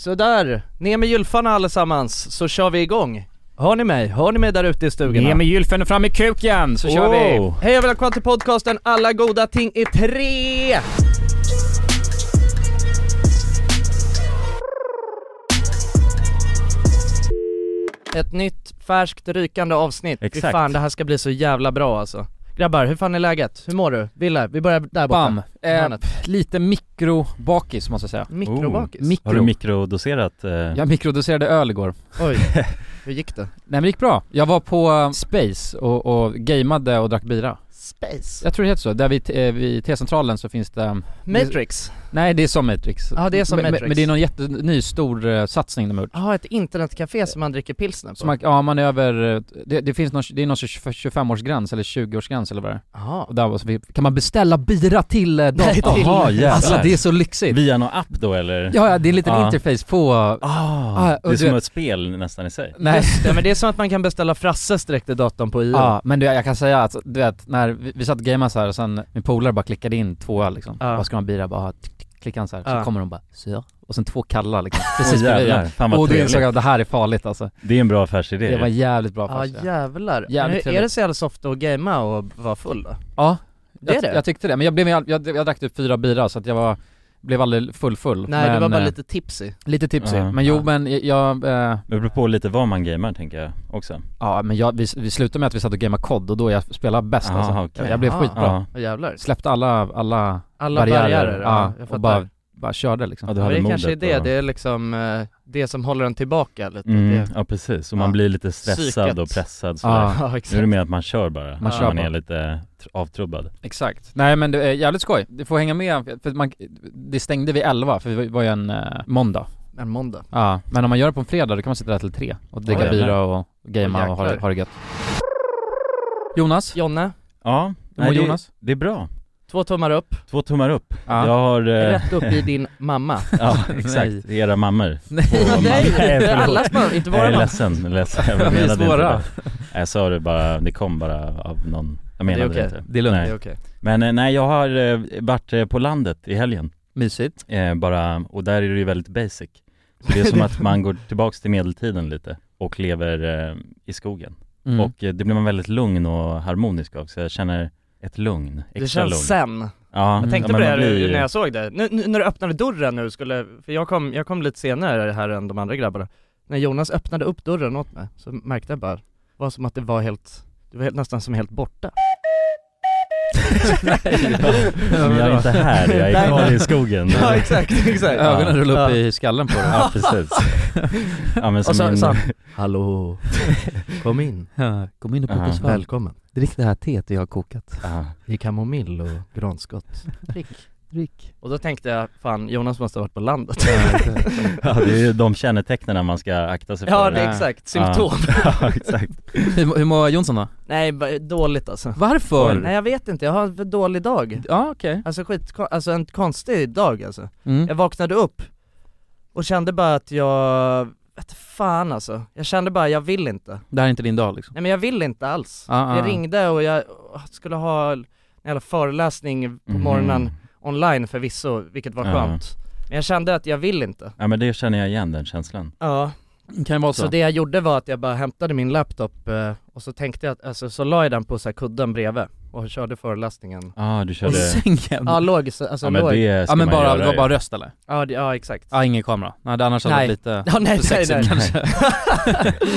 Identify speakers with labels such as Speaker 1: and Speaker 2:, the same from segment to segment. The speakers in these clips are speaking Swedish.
Speaker 1: Sådär, ner med gylfarna allesammans så kör vi igång. Hör ni mig? Hör ni mig där ute i stugorna?
Speaker 2: Ge mig gylfen och fram i kuken så kör vi!
Speaker 3: Oh.
Speaker 1: Hej och välkomna till podcasten Alla goda ting i tre! Ett nytt färskt rykande avsnitt. Fy
Speaker 2: Exakt.
Speaker 1: fan det här ska bli så jävla bra alltså. Grabbar, hur fan är läget? Hur mår du? Wille, vi börjar där borta.
Speaker 2: Bam! Eh,
Speaker 1: Hörnet.
Speaker 2: lite mikrobakis måste jag säga.
Speaker 1: Mikrobakis?
Speaker 3: Oh,
Speaker 2: mikro.
Speaker 3: Har du mikrodoserat? Eh,
Speaker 2: Jag mikrodoserade öl igår.
Speaker 1: Oj, hur gick det?
Speaker 2: Nej men det gick bra. Jag var på eh, Space och, och gameade och drack bira.
Speaker 1: Space?
Speaker 2: Jag tror det heter så. Där vid, eh, vid T-centralen så finns det... eh,
Speaker 1: Matrix?
Speaker 2: Nej det är som Matrix.
Speaker 1: Ja, det är som
Speaker 2: men, men-
Speaker 1: Matrix.
Speaker 2: Men det är någon jätteny stor eh, satsning de har gjort.
Speaker 1: Ja, ett internetcafé som man dricker pilsner
Speaker 2: Så man,
Speaker 1: på?
Speaker 2: ja man är över, eh, det, det finns någon, det är någon 25-årsgräns eller 20-årsgräns eller vad det är.
Speaker 1: Jaha.
Speaker 2: Och där var, så vi, kan man beställa bira till eh,
Speaker 1: Nej,
Speaker 2: datorn?
Speaker 1: till-
Speaker 3: Jaha jävlar.
Speaker 2: Alltså det är så lyxigt.
Speaker 3: Via någon app då eller?
Speaker 2: Ja, ja, det är en liten
Speaker 3: Ja.
Speaker 2: interface på...
Speaker 3: Ah,
Speaker 2: Ah, och
Speaker 3: det är som
Speaker 2: du-
Speaker 3: ett spel nästan i sig.
Speaker 2: Nej.
Speaker 1: Just det, men det är som att man kan beställa Frasses direkt i datorn på IO.
Speaker 2: Ja, men du, jag kan säga att du vet, när vi, vi satt och gamade så här och sen min polare bara klickade in två öl liksom.
Speaker 1: Ja.
Speaker 2: Vad ska man bira? Bara tick, tick, klickade han så här,
Speaker 1: Ja.
Speaker 2: så kommer de bara sör. Och sen två kalla liksom.
Speaker 3: Precis
Speaker 2: Precis bredvid.
Speaker 3: jävlar, fan
Speaker 2: Och
Speaker 3: vad
Speaker 2: då
Speaker 3: trevligt.
Speaker 2: insåg jag att det här är farligt alltså.
Speaker 3: Det är en bra affärsidé.
Speaker 2: Det var
Speaker 3: ju.
Speaker 2: jävligt bra
Speaker 1: Ja
Speaker 2: faktiskt. ja.
Speaker 1: jävlar. Men
Speaker 2: Jävligt
Speaker 1: hur- är
Speaker 2: trevligt.
Speaker 1: det så jävla soft att gamea och vara full då?
Speaker 2: ja
Speaker 1: Det är
Speaker 2: jag,
Speaker 1: det?
Speaker 2: jag tyckte det. Men jag blev, jag, jag, jag drack typ fyra bira så att jag var, blev aldrig full full.
Speaker 1: Nej
Speaker 2: men,
Speaker 1: du var bara
Speaker 2: eh,
Speaker 1: lite tipsy.
Speaker 2: lite tipsig.
Speaker 3: Ja.
Speaker 2: Men jo
Speaker 1: Ja.
Speaker 2: men jag, jag eh,
Speaker 3: Det beror på lite vad man gamer tänker jag också.
Speaker 2: ja men jag, vi, vi slutade med att vi satt och gamade kod och då jag spelade bäst
Speaker 3: Ah,
Speaker 2: alltså.
Speaker 3: okej.
Speaker 2: Jag, jag blev
Speaker 1: Ah.
Speaker 2: skitbra.
Speaker 3: Ja,
Speaker 1: Åh jävlar.
Speaker 2: Släppte alla, alla
Speaker 1: Alla barriärer,
Speaker 2: barriärer,
Speaker 1: ja,
Speaker 2: ja,
Speaker 1: jag
Speaker 2: och
Speaker 1: fattar.
Speaker 2: bara- bara körde
Speaker 3: ja
Speaker 2: liksom.
Speaker 3: du
Speaker 1: Men
Speaker 3: hade
Speaker 1: det
Speaker 3: modet
Speaker 1: kanske är det,
Speaker 3: och-
Speaker 1: det är liksom eh, det som håller en tillbaka lite.
Speaker 3: Mm,
Speaker 1: Det...
Speaker 3: ja precis, och
Speaker 1: Ja.
Speaker 3: man blir lite stressad
Speaker 1: Psyket.
Speaker 3: och pressad sådär.
Speaker 2: Ja,
Speaker 1: Ja
Speaker 3: Nu är
Speaker 1: exakt.
Speaker 3: det mer att man kör bara,
Speaker 2: Man
Speaker 3: man,
Speaker 2: kör
Speaker 3: man
Speaker 2: bara.
Speaker 3: är lite tr- avtrubbad.
Speaker 2: exakt. Nej men det är jävligt skoj. Du får hänga med, för man, det stängde vid 11 för det var ju en eh, måndag.
Speaker 1: En måndag.
Speaker 2: Ja, men om man gör det på en fredag då kan man sitta där till tre och dricka
Speaker 3: Oj,
Speaker 2: bira
Speaker 3: jävlar.
Speaker 2: och gamea
Speaker 1: Åh,
Speaker 2: och ha det,
Speaker 1: jäklar.
Speaker 2: ha det gött. Jonas,
Speaker 1: Jonna,
Speaker 3: Ja,
Speaker 2: hur mår
Speaker 3: det,
Speaker 2: Jonas?
Speaker 3: det är bra.
Speaker 1: två tummar upp,
Speaker 3: Två tummar upp.
Speaker 2: Ja.
Speaker 3: Jag har... eh,
Speaker 1: rätt upp i din mamma.
Speaker 3: ja, exakt. Era mammor.
Speaker 2: Nej.
Speaker 3: mamma. Nej, förlåt.
Speaker 1: allas mamma, inte
Speaker 3: jag
Speaker 1: våra
Speaker 3: är
Speaker 1: mamma.
Speaker 3: ledsen, ledsen. Jag
Speaker 2: Vi är
Speaker 3: menade inte
Speaker 2: svåra.
Speaker 3: det. Jag sa det bara, det kom bara av någon, jag
Speaker 1: Det är
Speaker 3: menade
Speaker 1: okej.
Speaker 3: det inte.
Speaker 2: Det är lugnt.
Speaker 1: Det
Speaker 3: Nej.
Speaker 1: är okej.
Speaker 3: Men eh, nej, jag har eh, varit eh, på landet i helgen,
Speaker 2: Mysigt.
Speaker 3: eh, bara, och där är det ju väldigt basic. Så det är som att man går tillbaks till medeltiden lite och lever eh, i skogen.
Speaker 2: Mm.
Speaker 3: Och eh, det blir man väldigt lugn och harmonisk av, så jag känner ett lugn, extra
Speaker 1: Det känns
Speaker 3: lugn.
Speaker 1: sen.
Speaker 3: Ja,
Speaker 2: Jag
Speaker 1: Jag tänkte
Speaker 3: ja,
Speaker 1: på
Speaker 3: men
Speaker 1: det
Speaker 3: man blir-
Speaker 1: när jag såg det. Nu, nu när du öppnade dörren nu skulle, för jag kom, jag kom lite senare här än de andra grabbarna. När Jonas öppnade upp dörren åt mig så märkte jag bara, det var som att det var helt, det var helt, nästan som helt borta.
Speaker 3: Men jag är inte här, jag
Speaker 1: Nej,
Speaker 3: är kvar
Speaker 1: nej.
Speaker 3: i skogen.
Speaker 1: Ja exakt, exakt.
Speaker 2: Ögonen rullade upp
Speaker 1: Ja.
Speaker 2: i skallen på dig.
Speaker 3: Ja, precis. Ja, men
Speaker 1: Och så
Speaker 3: som
Speaker 1: sa han,
Speaker 3: en,
Speaker 1: hallå, kom in,
Speaker 2: Kom in och
Speaker 3: koka Ja. svamp.
Speaker 1: välkommen.
Speaker 2: Drick det här teet jag har kokat.
Speaker 3: ja,
Speaker 1: I kamomill och granskott. Drick, drick. Och då tänkte jag, fan Jonas måste ha varit på landet.
Speaker 3: ja, det är ju de kännetecknen man ska akta sig för.
Speaker 1: ja det är
Speaker 2: Ja.
Speaker 1: exakt, symptom.
Speaker 3: ja, exakt.
Speaker 2: hur, hur mår Jonsson då?
Speaker 1: Nej, bara dåligt alltså.
Speaker 2: Varför?
Speaker 1: Nej jag vet inte, jag har en för dålig dag.
Speaker 2: Ja okej.
Speaker 1: Alltså skit, alltså en konstig dag alltså.
Speaker 2: Mm.
Speaker 1: Jag vaknade upp och kände bara att jag, vet fan alltså. Jag kände bara, jag vill inte.
Speaker 2: Det här är inte din dag liksom.
Speaker 1: Nej men jag vill inte alls.
Speaker 2: Ah,
Speaker 1: Jag
Speaker 2: ah.
Speaker 1: ringde och jag åh, skulle ha en jävla föreläsning på
Speaker 3: Mhm.
Speaker 1: morgonen online förvisso, vilket var
Speaker 3: Ja.
Speaker 1: skönt. Men jag kände att jag vill inte.
Speaker 3: Ja men det känner jag igen den känslan.
Speaker 1: Ja,
Speaker 2: Kan ju vara så.
Speaker 1: så det jag gjorde var att jag bara hämtade min laptop eh, och så tänkte jag att, alltså så la jag den på så här kudden bredvid och körde föreläsningen.
Speaker 3: Ja ah, du
Speaker 2: I
Speaker 3: körde,
Speaker 2: sängen?
Speaker 1: Ja, låg, så- alltså
Speaker 3: ja men
Speaker 1: låg.
Speaker 3: det ska
Speaker 2: Ja men
Speaker 3: man
Speaker 2: bara,
Speaker 3: göra
Speaker 2: det var
Speaker 3: ju.
Speaker 2: bara röst eller?
Speaker 1: Ja, det, ja exakt.
Speaker 2: Ja ingen kamera, nej det annars hade
Speaker 1: Nej.
Speaker 2: det varit lite
Speaker 1: Ja, nej,
Speaker 2: för sexigt
Speaker 1: nej, nej.
Speaker 2: kanske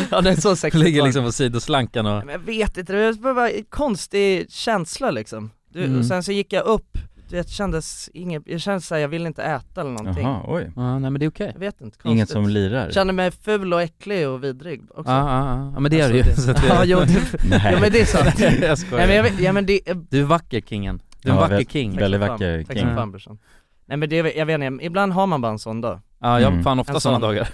Speaker 1: ja den är så sexig
Speaker 2: Ligger liksom på sidoslankan och
Speaker 1: Men jag vet inte, det var bara en konstig känsla liksom du,
Speaker 2: Mm.
Speaker 1: Och sen så gick jag upp, du vet, kändes inget, jag kände såhär, jag vill inte äta eller någonting
Speaker 3: Jaha, oj.
Speaker 2: Ja nej men det är okej
Speaker 1: Jag vet inte, konstigt
Speaker 3: Inget som lirar.
Speaker 1: Kände mig ful och äcklig och vidrig också
Speaker 2: Ja ja Ah, ja, ja men det är
Speaker 1: Alltså,
Speaker 2: du ju så att det...
Speaker 1: Ja jo, det,
Speaker 3: Nej.
Speaker 1: ja men det är sant
Speaker 2: jag
Speaker 1: Nej
Speaker 2: skojar
Speaker 1: men jag vet, ja men det, eh,
Speaker 2: Du är vacker kingen, du är en
Speaker 3: Ja,
Speaker 2: vacker
Speaker 3: väl-
Speaker 2: king
Speaker 3: väl- Väldigt
Speaker 1: Tack som
Speaker 3: vacker
Speaker 1: fan. Tack
Speaker 3: king.
Speaker 1: som fan brorsan Nej men det, jag vet inte, ibland har man bara en sån dag
Speaker 2: Ja jag har
Speaker 3: Mm.
Speaker 2: fan ofta
Speaker 1: En
Speaker 2: sådana
Speaker 1: sån.
Speaker 2: dagar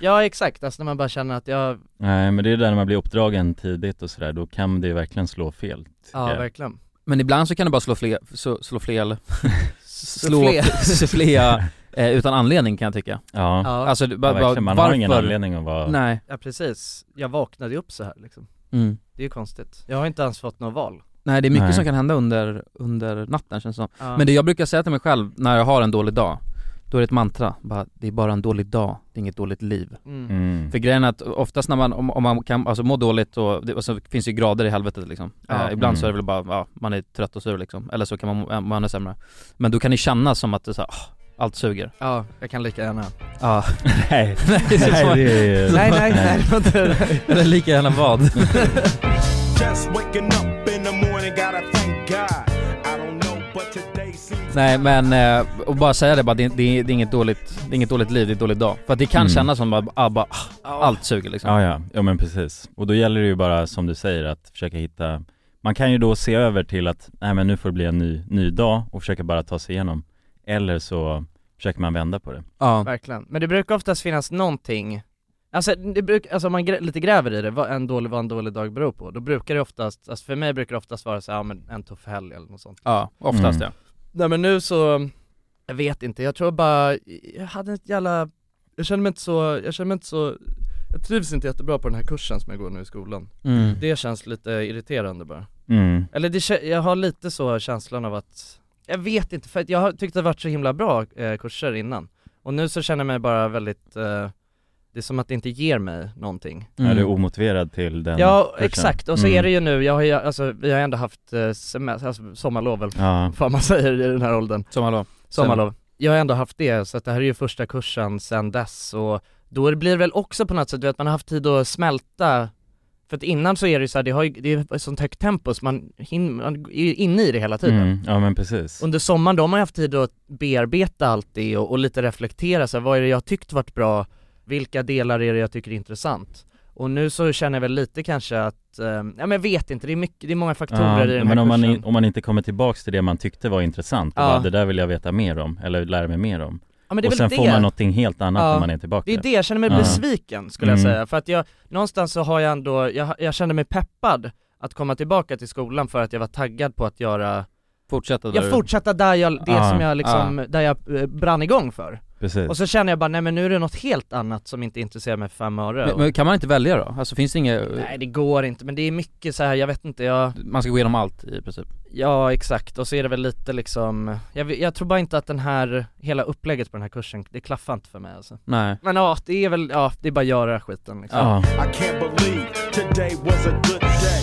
Speaker 1: Ja exakt, alltså när man bara känner att jag,
Speaker 3: Nej men det är där när man blir uppdragen tidigt och sådär, då kan det ju verkligen slå fel. tycker
Speaker 1: ja
Speaker 3: jag.
Speaker 1: verkligen
Speaker 2: Men ibland så kan du bara slå fler, så- slå fler, slå,
Speaker 1: Sufflé.
Speaker 2: flera eh, utan anledning kan jag tycka
Speaker 3: Ja, ja.
Speaker 1: Ja,
Speaker 2: Alltså du- bara, bara,
Speaker 3: verkligen. Man har ingen
Speaker 2: varför?
Speaker 3: anledning att vara...
Speaker 2: Nej
Speaker 1: ja precis, jag vaknade ju upp så här liksom
Speaker 2: mm.
Speaker 1: Det är ju konstigt, jag har inte ens fått något val
Speaker 2: Nej det är mycket
Speaker 3: Nej.
Speaker 2: som kan hända under, under natten känns det som
Speaker 1: Ja.
Speaker 2: Men det jag brukar säga till mig själv när jag har en dålig dag, då
Speaker 4: då är det ett mantra, bara, det är bara en dålig dag, det är inget dåligt liv.
Speaker 1: Mm.
Speaker 3: Mm.
Speaker 4: För grejen är att oftast när man, om, om man kan, alltså må dåligt och, det, och så finns det ju grader i helvetet liksom.
Speaker 1: Ja.
Speaker 4: Eh, ibland så är
Speaker 3: Mm.
Speaker 4: det väl bara, ja, man är trött och sur liksom. Eller så kan man, må- eh, man är sämre. Men då kan det kännas som att det är så här, ah, allt suger.
Speaker 1: Ja, jag kan lika gärna
Speaker 4: Ja.
Speaker 3: Nej,
Speaker 4: Nej, det är så-
Speaker 3: nej det är...
Speaker 1: Nej nej nej, det var inte det
Speaker 4: Eller lika gärna vad?
Speaker 5: Just waking up in the morning, gotta thank God. I don't know, but today seems.
Speaker 4: Nej men, eh, och bara säga det bara, det, det, är- det är inget dåligt, det är inget dåligt liv, det är en dålig dag. För att det kan
Speaker 3: Mm.
Speaker 4: kännas som att, ah, bara, ah, allt suger liksom.
Speaker 3: Ja, ja, ja men precis. Och då gäller det ju bara som du säger att försöka hitta Man kan ju då se över till att, nej men nu får det bli en ny, ny dag och försöka bara ta sig igenom Eller så försöker man vända på det
Speaker 4: Ja.
Speaker 1: Verkligen, men det brukar oftast finnas någonting Alltså, det bruk, alltså om man grä, lite gräver i det, vad en, dålig, vad en dålig dag beror på, då brukar det oftast, alltså för mig brukar det oftast vara så här, ja, men en tuff helg eller något sånt
Speaker 4: Ja, oftast
Speaker 3: Mm.
Speaker 1: Nej men nu så, jag vet inte, jag tror bara, jag hade ett jävla, jag känner mig inte så, jag känner mig inte så, jag trivs inte jättebra på den här kursen som jag går nu i skolan
Speaker 4: ja. Mm.
Speaker 1: Det känns lite irriterande bara
Speaker 3: Mm,
Speaker 1: Eller det, kä- jag har lite så känslan av att, jag vet inte, för att jag har tyckt det har varit så himla bra eh, kurser innan Och nu så känner jag mig bara väldigt, eh, det är som att det inte ger mig någonting
Speaker 4: Mm.
Speaker 3: är du omotiverad till den
Speaker 1: Mm. Ja
Speaker 3: kursen?
Speaker 1: exakt, och så
Speaker 3: Mm.
Speaker 1: är det ju nu, jag har ju, alltså vi har ändå haft eh, semester, alltså, sommarlov eller
Speaker 3: Ja,
Speaker 1: vad man säger i den här åldern
Speaker 4: Som hallå.
Speaker 1: Sommarlov. Jag har ändå haft det, så att det här är ju första kursen sen dess och då blir det väl också på något sätt, du vet man har haft tid att smälta för att innan så är det ju så här, det, har ju, det är ett sånt högt tempo så man, hinner, man är ju inne i det hela tiden.
Speaker 3: mm, ja men precis
Speaker 1: Under sommaren då har man ju haft tid att bearbeta allt det och, och lite reflektera så här, vad är det jag har tyckt varit bra, vilka delar är det jag tycker är intressant? Och nu så känner jag väl lite kanske att, eh, ja men jag vet inte, det är, mycket, det är många faktorer i den här
Speaker 3: men om man,
Speaker 1: kursen.
Speaker 3: i- om man inte kommer tillbaks till det man tyckte var intressant och
Speaker 1: Ja.
Speaker 3: bara, det där vill jag veta mer om, eller lära mig mer om
Speaker 1: ja, men det är
Speaker 3: Och
Speaker 1: väl
Speaker 3: sen
Speaker 1: det.
Speaker 3: får man någonting helt annat
Speaker 1: Ja.
Speaker 3: när man är tillbaka
Speaker 1: Det är det, jag känner mig
Speaker 3: Ja.
Speaker 1: besviken skulle jag
Speaker 3: Mm.
Speaker 1: säga, för att jag, någonstans så har jag ändå, jag, jag känner mig peppad att komma tillbaka till skolan för att jag var taggad på att göra,
Speaker 4: Fortsätta där
Speaker 1: jag
Speaker 4: du-
Speaker 1: fortsatte där jag, det
Speaker 3: Ja.
Speaker 1: som jag liksom, där jag eh, brann igång för.
Speaker 3: Precis
Speaker 1: Och så känner jag bara, nej men nu är det något helt annat som inte intresserar mig för fem öre.
Speaker 4: Men,
Speaker 1: Och-
Speaker 4: men kan man inte välja då? Alltså finns det inget,
Speaker 1: Nej det går inte, men det är mycket så här, jag vet inte, jag,
Speaker 4: man ska gå igenom allt i princip?
Speaker 1: ja exakt, och så är det väl lite liksom, jag, vet- jag tror bara inte att den här, hela upplägget på den här kursen, det klaffar inte för mig alltså.
Speaker 4: Nej.
Speaker 1: Men ja, det är väl, ja det är bara att göra skiten liksom.
Speaker 3: Ja,
Speaker 5: I can't believe today was a good day.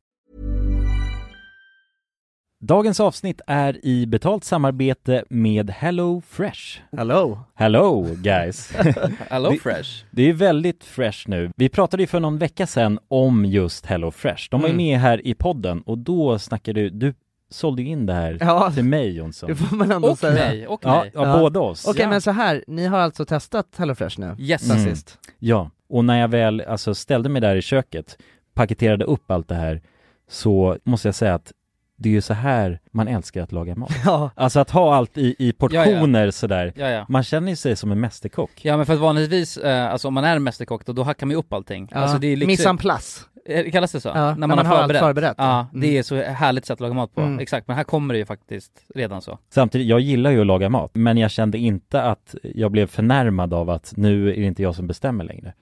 Speaker 3: Dagens avsnitt är i betalt samarbete med Hello Fresh.
Speaker 1: Hello!
Speaker 3: Hello guys!
Speaker 4: Hello
Speaker 3: Det-
Speaker 4: fresh.
Speaker 3: Det är väldigt fresh nu. Vi pratade ju för någon vecka sedan om just Hello Fresh. De var ju
Speaker 1: Mm.
Speaker 3: med här i podden och då snackade du, du sålde ju in det här
Speaker 1: Ja,
Speaker 3: till mig Jonsson.
Speaker 1: det får man ändå
Speaker 4: Och
Speaker 1: säga.
Speaker 4: mig, och
Speaker 3: Ja,
Speaker 4: mig.
Speaker 3: ja,
Speaker 1: Ja.
Speaker 3: båda oss.
Speaker 1: Okej
Speaker 3: ja.
Speaker 1: men så här, ni har alltså testat HelloFresh nu?
Speaker 4: Yes. alltså.
Speaker 1: Sen
Speaker 3: Mm.
Speaker 1: sist?
Speaker 3: ja, och när jag väl alltså, ställde mig där i köket, paketerade upp allt det här, så måste jag säga att det är ju så här man älskar att laga mat.
Speaker 1: Ja,
Speaker 3: Alltså att ha allt i, i portioner sådär.
Speaker 2: Ja, ja.
Speaker 3: Man känner ju sig som en mästerkock.
Speaker 2: Ja men för att vanligtvis, eh, alltså om man är en mästerkock då, då hackar man ju upp allting.
Speaker 1: ja.
Speaker 2: Alltså det är
Speaker 1: Mise en
Speaker 2: liksom,
Speaker 1: place,
Speaker 2: Eh, kallas det så?
Speaker 1: ja, när, man har allt förberett.
Speaker 2: Ja,
Speaker 1: Mm.
Speaker 2: det är så härligt sätt att laga mat på.
Speaker 1: Mm.
Speaker 2: Exakt, men här kommer det ju faktiskt redan så.
Speaker 3: Samtidigt, jag gillar ju att laga mat, men jag kände inte att jag blev förnärmad av att nu är det inte jag som bestämmer längre.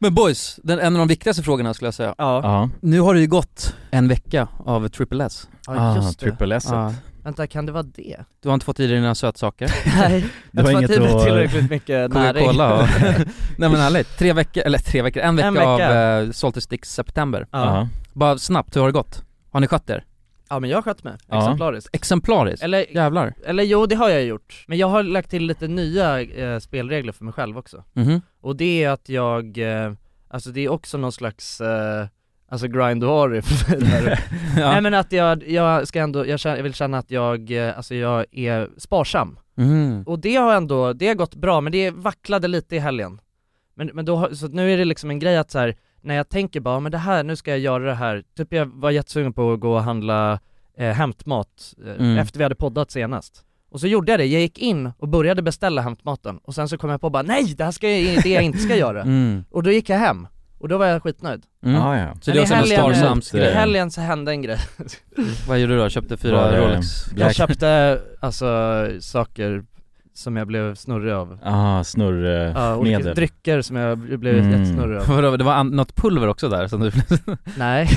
Speaker 2: Men boys, den, en av de viktigaste frågorna skulle jag säga.
Speaker 1: Ja,
Speaker 3: Ja.
Speaker 2: Nu har det ju gått en vecka av Triple S.
Speaker 1: ja just det.
Speaker 3: ah, Triple S.
Speaker 2: Ja.
Speaker 1: Vänta, kan det vara det?
Speaker 2: Du har inte fått i dig dina sötsaker?
Speaker 1: Nej,
Speaker 3: Det var inget att-
Speaker 1: tillräckligt mycket
Speaker 2: Coca-Cola och... Nej men ärligt, tre veckor, eller tre veckor, en vecka,
Speaker 1: En vecka.
Speaker 2: av eh, Salty Sticks September.
Speaker 1: ja.
Speaker 2: Bara snabbt, hur har det gått? Har ni skött er?
Speaker 1: ja, men jag sköt mig
Speaker 3: Ja.
Speaker 1: exemplariskt.
Speaker 2: Exemplariskt?
Speaker 1: Eller,
Speaker 2: Jävlar.
Speaker 1: eller jo, det har jag gjort. Men jag har lagt till lite nya eh, spelregler för mig själv också.
Speaker 2: Mhm.
Speaker 1: Och det är att jag, eh, alltså det är också någon slags, eh, alltså grind och Ari för mig där.
Speaker 2: Ja.
Speaker 1: Nej men att jag, jag ska ändå, jag, känner, jag vill känna att jag, eh, alltså jag är sparsam.
Speaker 2: Mhm.
Speaker 1: Och det har ändå, det har gått bra men det vacklade lite i helgen. Men, men då, har- så att nu är det liksom en grej att så här, när jag tänker bara, men det här, nu ska jag göra det här. Typ jag var jättesugen på att gå och handla eh, hämtmat eh,
Speaker 2: Mm.
Speaker 1: efter vi hade poddat senast. Och så gjorde jag det, jag gick in och började beställa hämtmaten och sen så kom jag på bara nej, det här ska jag, det jag inte ska göra.
Speaker 2: Mm.
Speaker 1: Och då gick jag hem, och då var jag skitnöjd.
Speaker 2: Mm.
Speaker 3: Ah, ja.
Speaker 2: Så
Speaker 1: Men
Speaker 2: det
Speaker 1: i
Speaker 2: var som en
Speaker 1: helgen-
Speaker 2: sparsams
Speaker 1: I
Speaker 3: Eh.
Speaker 2: grej.
Speaker 1: helgen så hände en grej.
Speaker 2: Vad gjorde du då? Köpte
Speaker 3: Var
Speaker 2: fyra
Speaker 3: det-
Speaker 2: Rolex?
Speaker 1: Jag köpte alltså saker som jag blev snurrig av.
Speaker 3: Ah, snurrmedel.
Speaker 1: Ja, olika drycker som jag blev
Speaker 3: Mm.
Speaker 1: jättesnurrig av.
Speaker 2: Vadå, det var an- något pulver också där som du
Speaker 1: Nej.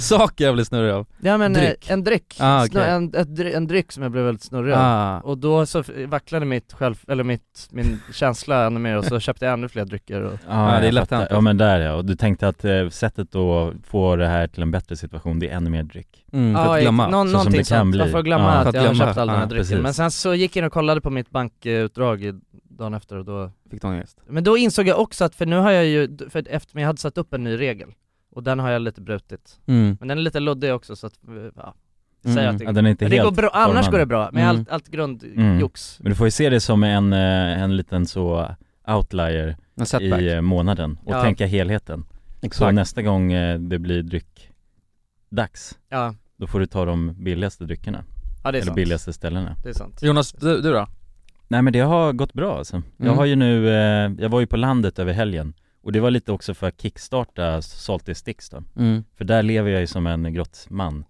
Speaker 2: Saker jag blev snurrig av.
Speaker 1: Ja men eh,
Speaker 2: Dryck.
Speaker 1: en dryck.
Speaker 2: Ah, okej.
Speaker 1: Snur- en, ett, dry- en dryck som jag blev väldigt snurrig av.
Speaker 2: Ah.
Speaker 1: Och då så f- vacklade mitt själv, eller mitt, min känsla ännu mer och så köpte jag ännu fler drycker och
Speaker 3: Ah,
Speaker 2: Ja, det är
Speaker 3: jag
Speaker 2: lätt
Speaker 3: fattar.
Speaker 2: hänt.
Speaker 3: Ja men där ja, och du tänkte att eh, sättet att få det här till en bättre situation, det är ännu mer dryck.
Speaker 2: Mm, för
Speaker 1: Ja,
Speaker 2: att glömma.
Speaker 1: Någon,
Speaker 3: Så som
Speaker 1: någonting
Speaker 3: det kan
Speaker 1: sånt.
Speaker 3: bli.
Speaker 1: Jag får glömma
Speaker 3: Ja. För
Speaker 2: Ah. att
Speaker 1: att jag har
Speaker 2: glömma.
Speaker 1: köpt all den
Speaker 2: Ja,
Speaker 1: här drycken.
Speaker 3: precis.
Speaker 1: Men sen så gick jag in och kollade på mitt bankutdrag i- dagen efter och då
Speaker 2: Fick du ångest?
Speaker 1: Men då insåg jag också att, för nu har jag ju, för att efter jag hade satt upp en ny regel Och den har jag lite brutit
Speaker 2: Mm.
Speaker 1: Men den är lite luddig också så att, eh, ja,
Speaker 2: Mm.
Speaker 1: jag säger att det,
Speaker 3: Ja, den är inte
Speaker 1: men det
Speaker 3: helt
Speaker 1: går bra, annars
Speaker 3: formad.
Speaker 1: går det bra, men
Speaker 2: Mm.
Speaker 1: allt, allt
Speaker 3: Mm.
Speaker 1: grundjox
Speaker 3: Men du får ju se det som en, eh, en liten så outlier
Speaker 2: En setback.
Speaker 3: i eh, månaden och
Speaker 1: Ja.
Speaker 3: tänka helheten. Så nästa gång eh, det blir dryck dags
Speaker 1: ja.
Speaker 3: då får du ta de billigaste dryckerna,
Speaker 1: ja, det är
Speaker 3: eller
Speaker 1: sant,
Speaker 3: billigaste ställena.
Speaker 1: det är sant
Speaker 2: Jonas, du, du då?
Speaker 3: Nej men det har gått bra alltså. Jag
Speaker 2: Mm.
Speaker 3: har ju nu, eh, jag var ju på landet över helgen och det var lite också för att kickstarta Salty Sticks då.
Speaker 2: Mm.
Speaker 3: För där lever jag ju som en grottman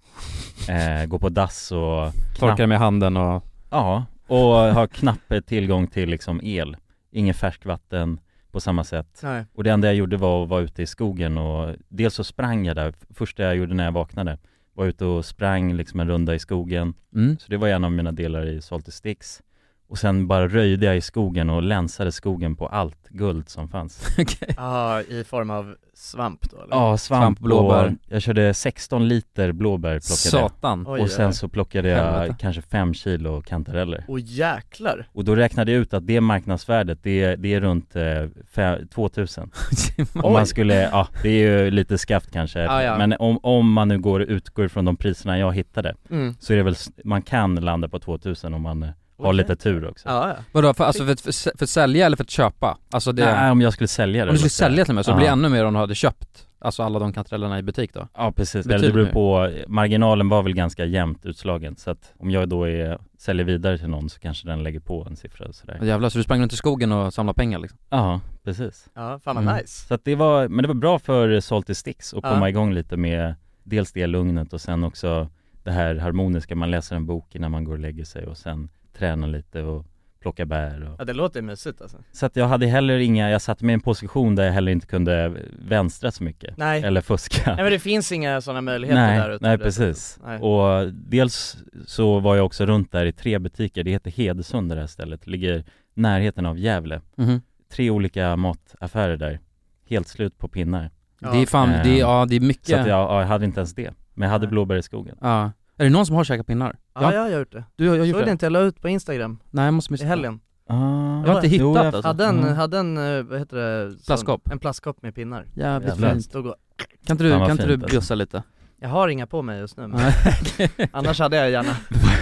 Speaker 3: eh, Går på dass och
Speaker 2: Torkar med handen och...
Speaker 3: Ja, och har knapp tillgång till liksom el Ingen färskvatten på samma sätt.
Speaker 1: Nej.
Speaker 3: Och det enda jag gjorde var att vara ute i skogen och dels så sprang jag där, första jag gjorde när jag vaknade var ute och sprang liksom en runda i skogen.
Speaker 2: Mm.
Speaker 3: Så det var en av mina delar i Salty Sticks. Och sen bara röjde jag i skogen och länsade skogen på allt guld som fanns.
Speaker 1: Ja, i form av svamp då eller?
Speaker 3: Ja, svamp,
Speaker 1: Svamp, blåbär.
Speaker 3: och Jag körde 16 liter blåbär plockade
Speaker 1: Satan.
Speaker 3: jag.
Speaker 1: Oj,
Speaker 3: Och sen
Speaker 1: oj.
Speaker 3: så plockade jag
Speaker 1: Helvete.
Speaker 3: kanske 5 kilo kantareller.
Speaker 1: Åh jäklar!
Speaker 3: Och då räknade jag ut att det marknadsvärdet, det är, det är runt eh, fe- 2000 Om
Speaker 1: Oj.
Speaker 3: man skulle, ja det är ju lite skaft kanske
Speaker 1: Ja, ja.
Speaker 3: Men om, om man nu går, utgår från de priserna jag hittade
Speaker 1: Mm.
Speaker 3: Så är det väl, s- man kan landa på 2000 om man eh, har
Speaker 2: Okej.
Speaker 3: lite tur också
Speaker 1: Ja, ja.
Speaker 2: Vadå, för, alltså för, att- för, att- för att sälja eller för att köpa? Alltså det...
Speaker 3: Nej, om jag skulle sälja det
Speaker 2: Om du skulle
Speaker 3: då, så-
Speaker 2: sälja till och med, så blir det
Speaker 3: Ja.
Speaker 2: ännu mer om du hade köpt, alltså alla de kantarellerna i butik då?
Speaker 3: Ja precis, eller det
Speaker 2: Betydligt
Speaker 3: beror
Speaker 2: mer.
Speaker 3: på, marginalen var väl ganska jämnt utslagen så att om jag då är, säljer vidare till någon så kanske den lägger på en siffra och sådär
Speaker 2: Jävlar, så du sprang runt i skogen och samlade pengar liksom?
Speaker 3: Ja, precis
Speaker 1: Ja, fan
Speaker 3: Mm.
Speaker 1: vad nice.
Speaker 3: Så att det var, men det var bra för Salty Sticks att
Speaker 1: Ja.
Speaker 3: komma igång lite med dels det lugnet och sen också det här harmoniska, man läser en bok innan man går och lägger sig och sen tränar lite och plockar bär och
Speaker 1: Ja det låter mysigt alltså.
Speaker 3: så att jag hade heller inga, jag satte mig i en position där jag heller inte kunde vänstra så mycket
Speaker 1: Nej.
Speaker 3: Eller fuska
Speaker 1: Nej men det finns inga sådana möjligheter där
Speaker 3: Nej,
Speaker 1: ute.
Speaker 3: nej
Speaker 1: på det
Speaker 3: precis.
Speaker 1: sättet. Nej.
Speaker 3: Och dels så var jag också runt där i tre butiker, det heter Hedesund det här stället, ligger i närheten av Gävle
Speaker 2: Mhm.
Speaker 3: Tre olika mataffärer där, helt slut på pinnar
Speaker 2: Ja. Det är fan- det är- ja, det är mycket.
Speaker 3: Så att jag, ja, jag hade inte ens det, men jag hade blåbär i skogen
Speaker 2: Ja. Är det någon som har käkat pinnar?
Speaker 1: Ja, jag har gjort det.
Speaker 2: Du har jag har
Speaker 1: Såg
Speaker 2: gjort
Speaker 1: det
Speaker 2: det?
Speaker 1: inte, jag la ut på instagram
Speaker 2: Nej, jag måste
Speaker 1: i
Speaker 2: missa
Speaker 1: helgen
Speaker 3: Ah.
Speaker 2: Jag har inte hittat
Speaker 1: Jo, jag
Speaker 2: alltså.
Speaker 1: Hade en,
Speaker 2: Mm.
Speaker 1: hade en, eh, vad heter det? sån-
Speaker 2: Plastkopp.
Speaker 1: En plastkopp med pinnar
Speaker 2: Jävligt
Speaker 1: Jävlar.
Speaker 2: fint.
Speaker 1: Stod och-
Speaker 2: Kan inte du, kan inte du bjussa lite?
Speaker 1: Jag har inga på mig just nu men
Speaker 2: Nej.
Speaker 1: annars hade jag gärna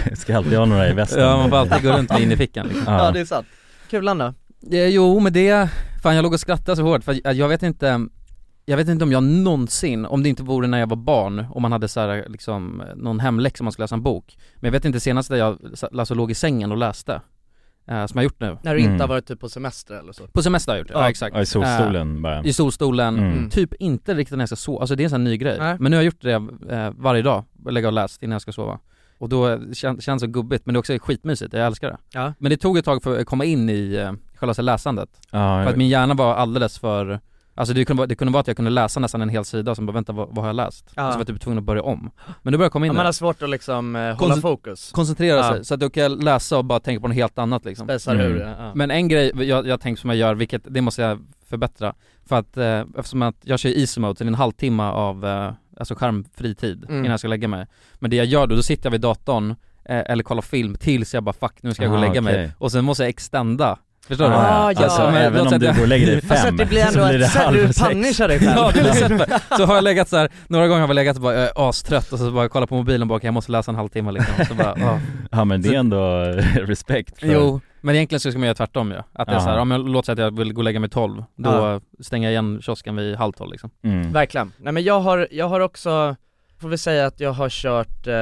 Speaker 3: Jag ska alltid ha några i västen
Speaker 2: Ja, man får alltid gå runt med in i fickan liksom.
Speaker 1: Ja, det är sant Kulan då?
Speaker 2: Eh, Jo men det, fan jag låg och skrattade så hårt för att eh, jag- jag vet inte Jag vet inte om jag någonsin, om det inte vore när jag var barn, om man hade så här, liksom någon hemläxa om man skulle läsa en bok Men jag vet inte senast där jag sa- alltså, låg i sängen och läste, eh, som jag gjort nu
Speaker 1: När du
Speaker 3: Mm.
Speaker 1: inte har varit typ på semester eller så?
Speaker 2: På semester har jag gjort, ja, ja exakt
Speaker 3: Ja, i solstolen
Speaker 2: Eh,
Speaker 3: bara.
Speaker 2: I solstolen,
Speaker 3: Mm.
Speaker 2: typ inte riktigt när jag ska sova, alltså det är en sån här ny grej
Speaker 1: Nej.
Speaker 2: Men nu har jag gjort det eh, varje dag, lägga och läst innan jag ska sova Och då eh, kän, känns det så gubbigt, men det är också skitmysigt, jag älskar det
Speaker 1: Ja.
Speaker 2: Men det tog ett tag för att komma in i eh, själva så här läsandet
Speaker 3: Ja, jag
Speaker 2: För att
Speaker 3: vet.
Speaker 2: min hjärna var alldeles för Alltså det kunde, vara, det kunde vara att jag kunde läsa nästan en hel sida och sen bara vänta vad, vad har jag läst?
Speaker 1: Ja.
Speaker 2: Och så var jag typ tvungen att börja om Men då började jag komma in
Speaker 1: Ja,
Speaker 2: i
Speaker 1: man
Speaker 2: det.
Speaker 1: har svårt att liksom eh, hålla
Speaker 2: Koncent-
Speaker 1: fokus
Speaker 2: Koncentrera
Speaker 1: Ja.
Speaker 2: sig, så att då kan jag läsa och bara tänka på något helt annat liksom
Speaker 1: Spejsar
Speaker 3: Mm.
Speaker 1: ur det, ja.
Speaker 2: Men en grej jag, jag tänkt som jag gör, vilket, det måste jag förbättra För att, eh, eftersom att jag kör ISO-mode, så det är en halvtimme av eh, alltså skärmfri tid
Speaker 1: Mm.
Speaker 2: innan jag ska lägga mig Men det jag gör då, då sitter jag vid datorn eh, eller kollar film tills jag bara 'fuck, nu ska jag gå och
Speaker 3: Ah,
Speaker 2: lägga mig'
Speaker 3: okej.
Speaker 2: och sen måste jag extenda Förstår du?
Speaker 3: Ah, ja. Alltså,
Speaker 2: men
Speaker 3: även
Speaker 2: låt
Speaker 3: om
Speaker 2: säga att
Speaker 3: du
Speaker 2: jag-
Speaker 3: går och lägger dig Alltså, fem, att det blir så ändå blir det att- så här, du halv sex. punishar dig själv.
Speaker 2: Ja, det blir sättet. Så har jag legat så här, några gånger har jag legat och bara, jag är astrött och så bara kollar på mobilen bara, okej, jag måste läsa en halvtimme liksom, så bara, ah.
Speaker 3: Ja men det
Speaker 2: Så-
Speaker 3: är ändå respekt för
Speaker 2: Jo, men egentligen så ska man göra tvärtom ju. Att det är
Speaker 3: Ja.
Speaker 2: så här, ja, men låt säga att jag vill gå och lägga mig 12, då
Speaker 1: Ja.
Speaker 2: stänger jag igen kiosken vid halv 12 liksom.
Speaker 3: Mm.
Speaker 1: Verkligen. Nej men jag har, jag har också, får vi säga att jag har kört, eh,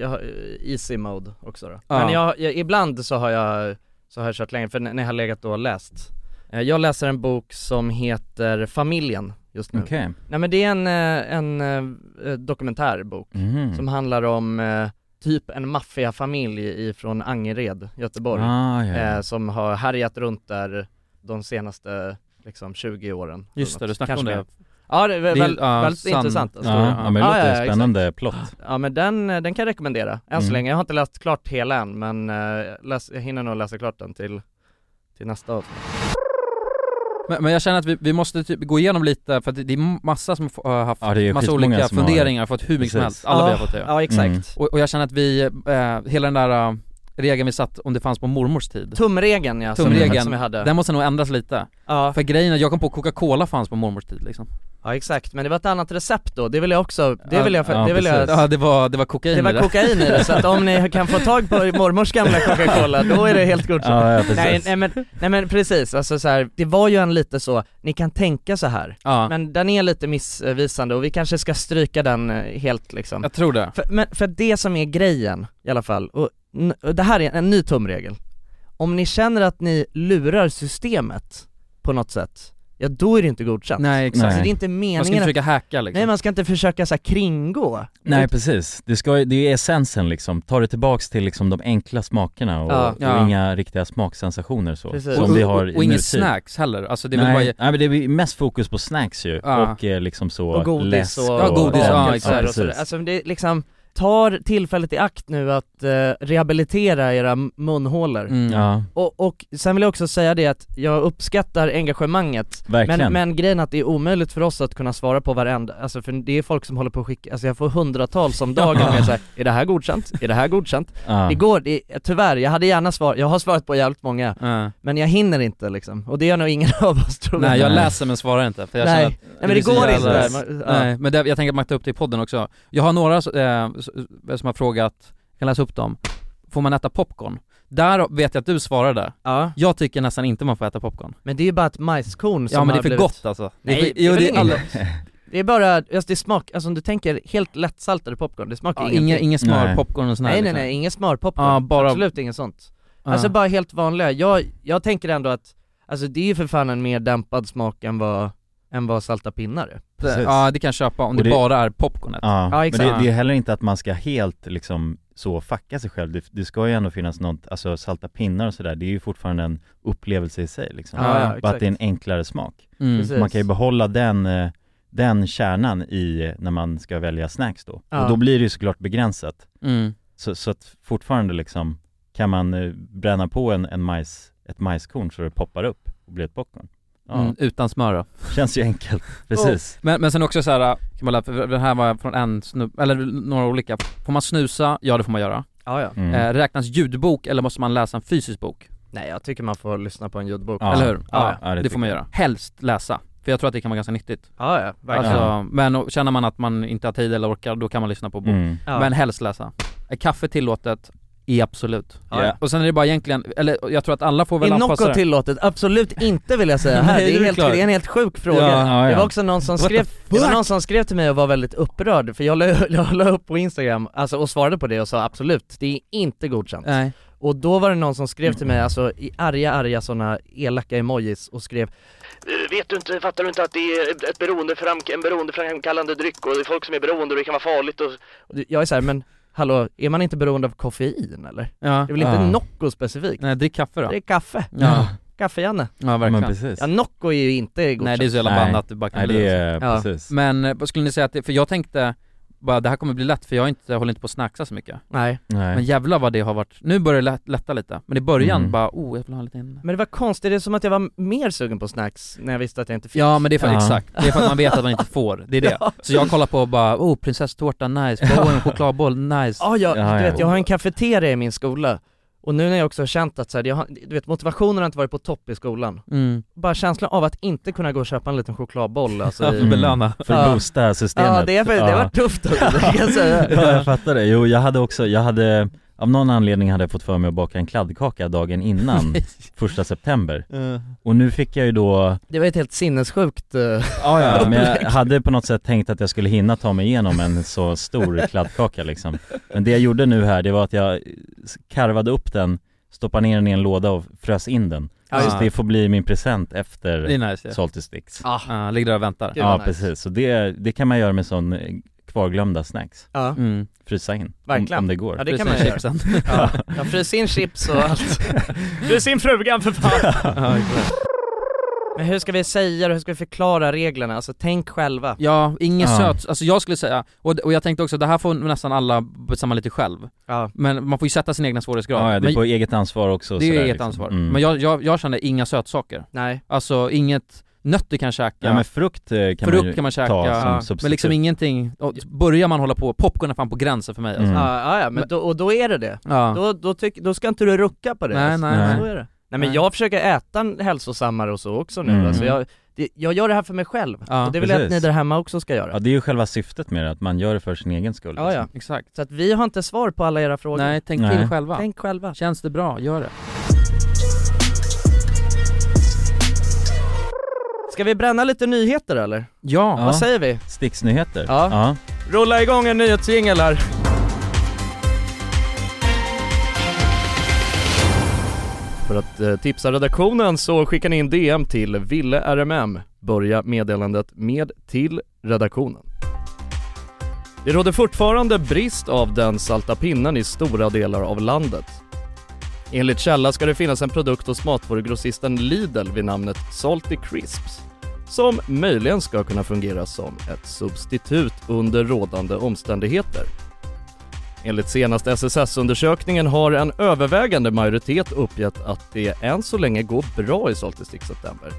Speaker 1: jag har eh, easy mode också då.
Speaker 2: Ja.
Speaker 1: Men jag, jag, ibland så har jag, så har jag kört längre, för när när jag har legat och läst. Eh, jag läser en bok som heter Familjen just nu.
Speaker 3: Okej.
Speaker 1: Nej men det är en, eh, en eh, dokumentärbok
Speaker 3: Mhm.
Speaker 1: som handlar om eh, typ en maffiafamilj ifrån Angered, Göteborg.
Speaker 3: Ah, ja, ja.
Speaker 1: Eh, som har härjat runt där de senaste liksom 20 åren.
Speaker 2: Just det, du snackade
Speaker 1: Kanske
Speaker 2: om det.
Speaker 1: mer. Ja det är väl,
Speaker 2: Det är-
Speaker 1: väldigt,
Speaker 2: ja,
Speaker 1: väldigt
Speaker 2: sann-
Speaker 1: intressant alltså.
Speaker 3: Ja, ja, Ah. men det låter spännande
Speaker 1: exakt.
Speaker 3: plott.
Speaker 1: Ja men den, eh, den kan jag rekommendera, än så
Speaker 3: Mm.
Speaker 1: länge. Jag har inte läst klart hela än men eh, läs, jag hinner nog läsa klart den till, till nästa avsnitt.
Speaker 2: Men, men jag känner att vi, vi måste typ gå igenom lite, för att det, det är massa som f- har haft
Speaker 3: Ja, det är
Speaker 2: massa
Speaker 3: skitmånga
Speaker 2: olika
Speaker 3: som har-
Speaker 2: funderingar, har... fått hur mycket som
Speaker 3: Precis.
Speaker 2: helst. Alla vi
Speaker 1: Ja,
Speaker 2: har fått det
Speaker 1: ja, exakt. Mm.
Speaker 2: Och, och jag känner att vi, eh, hela den där eh, regeln vi satt, om det fanns på mormors tid.
Speaker 1: Tumregeln ja, som vi-
Speaker 2: Tumregeln,
Speaker 1: som vi hade.
Speaker 2: den måste nog ändras lite.
Speaker 1: Ja.
Speaker 2: För grejen är, jag kom på att Coca-Cola fanns på mormors tid liksom.
Speaker 1: Ja exakt, men det var ett annat recept då, det vill jag också, det vill jag, det vill jag
Speaker 2: Ja det var, det var kokain
Speaker 1: Det var kokain i det, så att om ni kan få tag på mormors gamla Coca-Cola, då är det helt godkänt
Speaker 2: Ja, ja, precis.
Speaker 1: nej, nej, men, nej men precis, alltså så här, det var ju en lite så, ni kan tänka så här
Speaker 2: Ja.
Speaker 1: Men den är lite missvisande och vi kanske ska stryka den eh, helt liksom
Speaker 2: Jag tror det
Speaker 1: för, Men för det som är grejen i alla fall, och, n- och det här är en ny tumregel Om ni känner att ni lurar systemet på något sätt ja då är det inte godkänt.
Speaker 2: Nej, exakt.
Speaker 1: Alltså, det
Speaker 2: Nej.
Speaker 1: är inte meningen
Speaker 2: Man ska inte
Speaker 1: att-
Speaker 2: försöka hacka liksom.
Speaker 1: Nej man ska inte försöka så här, kringgå.
Speaker 3: Nej precis, det, ska, ju- det är essensen liksom, ta det tillbaks till liksom de enkla smakerna och,
Speaker 2: Ja.
Speaker 3: och
Speaker 2: Ja.
Speaker 3: inga riktiga smaksensationer så,
Speaker 2: Precis.
Speaker 3: som
Speaker 2: Och-
Speaker 3: vi har
Speaker 2: och- och inget
Speaker 3: nutid.
Speaker 2: snacks heller. Alltså, det är väl
Speaker 3: nej,
Speaker 2: bara-
Speaker 3: nej men det är mest fokus på snacks ju
Speaker 1: Ja.
Speaker 3: och eh, liksom så
Speaker 1: och godis
Speaker 3: läsk
Speaker 1: och,
Speaker 3: och
Speaker 1: bakelser och
Speaker 3: precis.
Speaker 1: sådär. Alltså det är liksom, tar tillfället i akt nu att eh, rehabilitera era m- munhålor.
Speaker 3: Mm. Ja.
Speaker 1: Och, och sen vill jag också säga det att jag uppskattar engagemanget,
Speaker 3: Verkligen.
Speaker 1: men, men grejen är att det är omöjligt för oss att kunna svara på varenda, alltså för det är folk som håller på att skicka, alltså jag får hundratals om dagen med såhär, är det här godkänt? Är det här godkänt?
Speaker 3: Ja.
Speaker 1: Igår, det, tyvärr, jag hade gärna svarat, jag har svarat på jävligt många, men jag hinner inte liksom, och det gör nog ingen av oss tror
Speaker 2: Nej, jag läser
Speaker 4: men svarar inte för
Speaker 2: jag
Speaker 1: Nej.
Speaker 2: känner att
Speaker 1: Nej, men det
Speaker 2: blir så
Speaker 1: går
Speaker 2: jävla-
Speaker 1: inte. Man- ja.
Speaker 2: Nej, men det, jag tänker att man tar upp det i podden också Jag har några så- eh, s- som har frågat, jag kan läsa upp dem Får man äta popcorn? Där vet jag att du svarade
Speaker 1: Ja.
Speaker 2: Jag tycker nästan inte man får äta popcorn
Speaker 1: Men det är ju bara ett majskorn som
Speaker 2: Ja men det är
Speaker 1: har
Speaker 2: för
Speaker 1: blivit...
Speaker 2: gott alltså Det är
Speaker 1: Nej,
Speaker 2: för-
Speaker 1: det är,
Speaker 2: jo,
Speaker 1: väl
Speaker 2: det är
Speaker 1: ingen
Speaker 2: alla-
Speaker 1: gott. Det är bara, alltså det smakar, alltså om du tänker helt lättsaltade popcorn, det smakar
Speaker 2: Ja,
Speaker 1: ingenting
Speaker 2: ingen- ingen smörpopcorn och sån här
Speaker 1: Nej nej
Speaker 2: liksom.
Speaker 1: nej, ingen smörpopcorn,
Speaker 2: Ja, bara-
Speaker 1: absolut inget sånt
Speaker 2: Ja.
Speaker 1: Alltså bara helt vanliga, jag, jag tänker ändå att, alltså det är ju för fan en mer dämpad smak än vad, än vad salta pinnar är
Speaker 3: Precis.
Speaker 2: Ja det kan jag köpa om
Speaker 3: Och
Speaker 2: det, bara är popcornet
Speaker 3: Ja, men det, det är
Speaker 2: Ja.
Speaker 3: heller inte att man ska helt liksom så fucka sig själv, det, det ska ju ändå finnas något, alltså salta pinnar och sådär, det är ju fortfarande en upplevelse i sig liksom.
Speaker 1: Ja, ja,
Speaker 3: Bara
Speaker 1: exakt.
Speaker 3: att det är en enklare smak.
Speaker 1: Mm.
Speaker 3: Så Man kan ju
Speaker 1: Precis.
Speaker 3: behålla den, eh, den kärnan i, när man ska välja snacks då.
Speaker 1: Ja.
Speaker 3: Och då blir det ju såklart begränsat.
Speaker 2: Mm.
Speaker 3: Så, så att fortfarande liksom, kan man eh, bränna på en, en majs, ett majskorn så det poppar upp och blir ett popcorn. Ja.
Speaker 2: Mm, utan smör då.
Speaker 3: Känns ju enkelt, precis.
Speaker 2: Men, men sen också så här, kan man lära, för det här var från en snubb, eller några olika. Får man snusa? Ja det får man göra.
Speaker 1: Ja, ja.
Speaker 3: Mm.
Speaker 2: Eh, räknas ljudbok eller måste man läsa en fysisk bok?
Speaker 1: Nej jag tycker man får lyssna på en ljudbok
Speaker 2: Eller hur?
Speaker 1: Ja,
Speaker 2: det, får man göra. Helst läsa. För jag tror att det kan vara ganska nyttigt.
Speaker 1: Ja, ja, verkligen. Ja.
Speaker 2: Alltså, men och, känner man att man inte har tid eller orkar, då kan man lyssna på bok.
Speaker 3: Mm.
Speaker 1: Ja.
Speaker 2: Men helst läsa. Är kaffe tillåtet? Är absolut.
Speaker 1: Ja. Ja.
Speaker 2: Och sen är det bara egentligen, eller jag tror att alla får väl
Speaker 1: Är
Speaker 2: anpassa
Speaker 1: Nocco
Speaker 2: det.
Speaker 1: tillåtet? Absolut inte vill jag säga här,
Speaker 2: Nej,
Speaker 1: det,
Speaker 2: det
Speaker 1: är
Speaker 2: är
Speaker 1: helt,
Speaker 2: klart.
Speaker 1: det är en helt sjuk fråga
Speaker 2: Ja, ja, ja.
Speaker 1: Det var också någon som
Speaker 2: What the
Speaker 1: skrev, det var
Speaker 2: fuck?
Speaker 1: någon som skrev till mig och var väldigt upprörd, för jag la, jag la upp på instagram, alltså och svarade på det och sa absolut, det är inte godkänt
Speaker 2: Nej.
Speaker 1: Och då var det någon som skrev till mig, alltså i arga arga sådana elaka emojis och skrev Vet du inte, fattar du inte att det är ett beroendefram, en beroendeframkallande dryck och det är folk som är beroende och det kan vara farligt och... Jag är såhär, men hallå, är man inte beroende av koffein eller?
Speaker 2: Ja.
Speaker 1: Det är väl inte
Speaker 2: Ja.
Speaker 1: Nocco specifikt?
Speaker 2: Nej, drick kaffe då.
Speaker 1: Det är kaffe.
Speaker 2: Ja.
Speaker 1: Kaffe-Janne.
Speaker 2: Ja, verkligen. Men precis.
Speaker 1: Ja, Nocco är ju inte godkänt.
Speaker 2: Nej det är så jävla blandat det bara kan bli så. Men eh, vad skulle ni säga att det, för jag tänkte bara det här kommer bli lätt för jag, är inte, jag håller inte på att snacksa så mycket
Speaker 1: Nej. Nej.
Speaker 2: Men jävlar vad det har varit, nu börjar det lätt, lätta lite, men i början
Speaker 1: Mm.
Speaker 2: bara oh jag vill ha lite in
Speaker 1: Men det var konstigt, det är som att jag var mer sugen på snacks när jag visste att jag inte fick.
Speaker 2: Ja men det är för, exakt, det är för att man vet att man inte får, det är det
Speaker 1: Ja.
Speaker 2: Så jag kollar på och bara oh prinsesstårta nice, oh, en chokladboll nice
Speaker 1: Ja, jag,
Speaker 2: Ja,
Speaker 1: du
Speaker 2: ja.
Speaker 1: vet, jag har en kafeteria i min skola och nu när jag också har känt att så här, jag har, du vet motivationen har inte varit på topp i skolan
Speaker 2: Mm.
Speaker 1: Bara känslan av att inte kunna gå och köpa en liten chokladboll alltså, i-
Speaker 3: Mm. För att
Speaker 1: Ja.
Speaker 3: boosta systemet.
Speaker 1: Ja det, är, det har varit tufft alltså, det kan jag säga
Speaker 3: ja, jag fattar det. Jo, jag hade också, jag hade, av någon anledning hade jag fått för mig att baka en kladdkaka dagen innan första september.
Speaker 2: Mm.
Speaker 1: Eh.
Speaker 3: Och nu fick jag ju då
Speaker 1: Det var ett helt sinnessjukt uh,
Speaker 3: Ja, ja, men jag hade på något sätt tänkt att jag skulle hinna ta mig igenom en så stor kladdkaka liksom. Men det jag gjorde nu här, det var att jag karvade upp den, stoppade ner den i en låda och frös in den.
Speaker 2: Ja,
Speaker 3: så
Speaker 2: just det.
Speaker 3: det får bli min present efter
Speaker 2: Det är nice, ja.
Speaker 3: Salty Sticks.
Speaker 2: Ah. Ja, ligger där och väntar. Gud, vad
Speaker 3: Ja,
Speaker 2: nice.
Speaker 3: precis. Så det, det kan man göra med sån eh, kvarglömda snacks.
Speaker 1: Ja.
Speaker 2: Mm.
Speaker 3: Frysa in.
Speaker 1: Verkligen.
Speaker 3: Om, om det går.
Speaker 1: Ja det kan man göra. Ja, jag fryser in chips och allt. Frys in frugan för fan. Men hur ska vi säga och hur ska vi förklara reglerna? Alltså tänk själva.
Speaker 2: Ja, inget
Speaker 1: Ja.
Speaker 2: söt, alltså jag skulle säga, och, och jag tänkte också det här får nästan alla bestämma lite själv
Speaker 1: Ja.
Speaker 2: Men man får ju sätta sin egna svårighetsgrad
Speaker 3: Ja, ja, det är
Speaker 2: Men-
Speaker 3: på eget ansvar också. och
Speaker 2: Det är ju
Speaker 3: sådär,
Speaker 2: eget
Speaker 3: liksom.
Speaker 2: ansvar.
Speaker 3: Mm.
Speaker 2: Men jag, jag, jag känner inga sötsaker.
Speaker 1: Nej.
Speaker 2: Alltså inget, nötter kan jag käka.
Speaker 3: Ja, men frukt, eh, kan
Speaker 2: frukt
Speaker 3: man ju
Speaker 2: kan man käka.
Speaker 3: ta som
Speaker 2: Ja.
Speaker 3: substitut.
Speaker 2: men liksom ingenting, och börjar man hålla på, popcorn är fan på gränsen för mig alltså.
Speaker 1: Mm. Ja, ja, ja men då, och då är det det.
Speaker 2: Ja.
Speaker 1: Då, då, tyck, då ska inte du rucka på det.
Speaker 2: Nej,
Speaker 1: alltså.
Speaker 2: nej, nej.
Speaker 1: Så är det. Nej men
Speaker 2: Nej.
Speaker 1: jag försöker äta en hälsosammare och så också nu.
Speaker 3: Mm.
Speaker 1: Alltså, jag, det, jag gör det här för mig själv. och det vill jag att ni
Speaker 3: Precis.
Speaker 1: där hemma också ska göra.
Speaker 3: Ja, det är ju själva syftet med det, att man gör det för sin egen skull. liksom.
Speaker 1: Ja, ja.
Speaker 2: Exakt.
Speaker 1: Så att vi har inte svar på alla era frågor.
Speaker 2: Nej, tänk
Speaker 3: Nej.
Speaker 2: till själva.
Speaker 1: Tänk själva.
Speaker 2: Känns det bra, gör det.
Speaker 1: Ska vi bränna lite nyheter eller?
Speaker 2: Ja.
Speaker 1: Vad säger vi?
Speaker 3: Sticksnyheter.
Speaker 1: Ja. Rulla igång en nyhetsjingel här. För att eh, tipsa redaktionen så skickar ni in DM till Ville RMM. Börja meddelandet med till redaktionen. Det råder fortfarande brist av den salta pinnen i stora delar av landet. Enligt källa ska det finnas en produkt hos matvarugrossisten Lidl vid namnet Salty Crisps som möjligen ska kunna fungera som ett substitut under rådande omständigheter. Enligt senaste SSS-undersökningen har en övervägande majoritet uppgett att det än så länge går bra i Salty Stick September.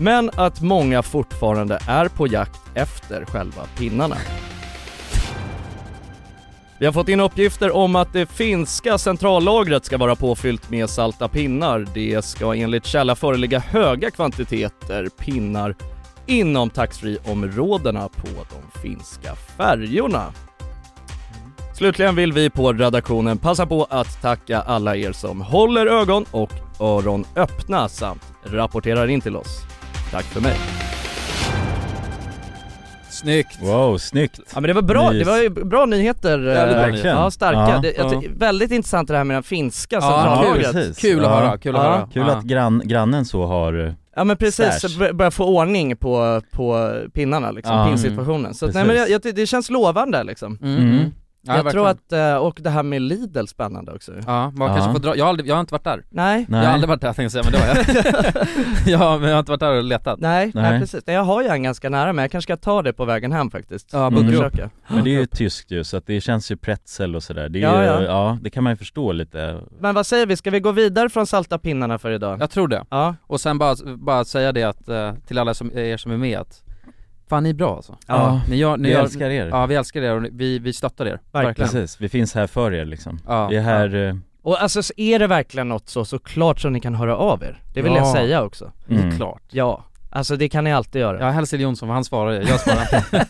Speaker 1: Men att många fortfarande är på jakt efter själva pinnarna. Vi har fått in uppgifter om att det finska centrallagret ska vara påfyllt med salta pinnar. Det ska enligt källa föreligga höga kvantiteter pinnar inom taxfree-områdena på de finska färjorna. Slutligen vill vi på redaktionen passa på att tacka alla er som håller ögon och öron öppna samt rapporterar in till oss. Tack för mig.
Speaker 2: Snyggt!
Speaker 3: Wow, snyggt!
Speaker 1: Ja men det var bra,
Speaker 3: Nys.
Speaker 1: det var ju bra nyheter.
Speaker 2: Jävligt bra
Speaker 1: eh,
Speaker 3: nyheter.
Speaker 1: Ja, starka.
Speaker 3: Ja.
Speaker 1: Det, jag ty- Väldigt intressant det här med den finska
Speaker 2: Ja,
Speaker 1: centrallagret.
Speaker 2: kul,
Speaker 3: precis.
Speaker 2: kul att
Speaker 3: Ja.
Speaker 2: höra, kul att
Speaker 1: Ja.
Speaker 2: höra.
Speaker 3: Kul att grann, grannen så har... eh,
Speaker 1: Ja men precis,
Speaker 3: Stash.
Speaker 1: så bör- börja få ordning på, på pinnarna liksom,
Speaker 3: Ja,
Speaker 1: pinsituationen. Så att, nej, men
Speaker 3: precis.
Speaker 1: jag, jag, ty- det känns lovande liksom.
Speaker 2: Mm.
Speaker 3: Mm.
Speaker 2: Mm. Ja,
Speaker 1: jag
Speaker 2: verkligen.
Speaker 1: tror att, eh, och det här med Lidl spännande också
Speaker 2: Ja, man kanske
Speaker 3: Ja.
Speaker 2: får dra, jag har, aldrig, jag har inte varit där.
Speaker 1: Nej,
Speaker 3: Nej.
Speaker 2: Jag har aldrig varit där tänkte jag säga, men det har jag. ja, men jag har inte varit där och letat.
Speaker 1: nej, nej,
Speaker 3: Nej.
Speaker 1: precis. Nej, jag har ju en ganska nära men jag kanske ska ta det på vägen hem faktiskt.
Speaker 2: Ja,
Speaker 3: Mm.
Speaker 2: bunkra upp.
Speaker 1: Försöka.
Speaker 3: Men det är ju tyskt ju, så att det känns ju pretzel och sådär. Det är
Speaker 1: Ja,
Speaker 3: ju,
Speaker 1: ja.
Speaker 3: ja. det kan man ju förstå lite.
Speaker 1: Men vad säger vi, ska vi gå vidare från salta pinnarna för idag?
Speaker 2: Jag tror det.
Speaker 1: Ja,
Speaker 2: Och sen bara, bara säga det att, eh, till alla som, er som är med att, fan ni är bra alltså.
Speaker 1: Ja.
Speaker 2: Ni gör, ni
Speaker 3: Ni
Speaker 2: gör,
Speaker 3: älskar er.
Speaker 2: Ja vi älskar er och ni- vi, vi stöttar er.
Speaker 1: verkligen.
Speaker 3: Precis, vi finns här för er liksom.
Speaker 2: Ja.
Speaker 3: Vi är här... eh,
Speaker 1: Och alltså så är det verkligen något så, såklart som ni kan höra av er. Det vill
Speaker 2: Ja.
Speaker 1: jag säga också.
Speaker 2: Ja,
Speaker 3: mm.
Speaker 2: klart.
Speaker 1: Ja, alltså det kan ni alltid göra.
Speaker 2: Ja hälsa till Jonsson för han svarar ju, jag svarar inte.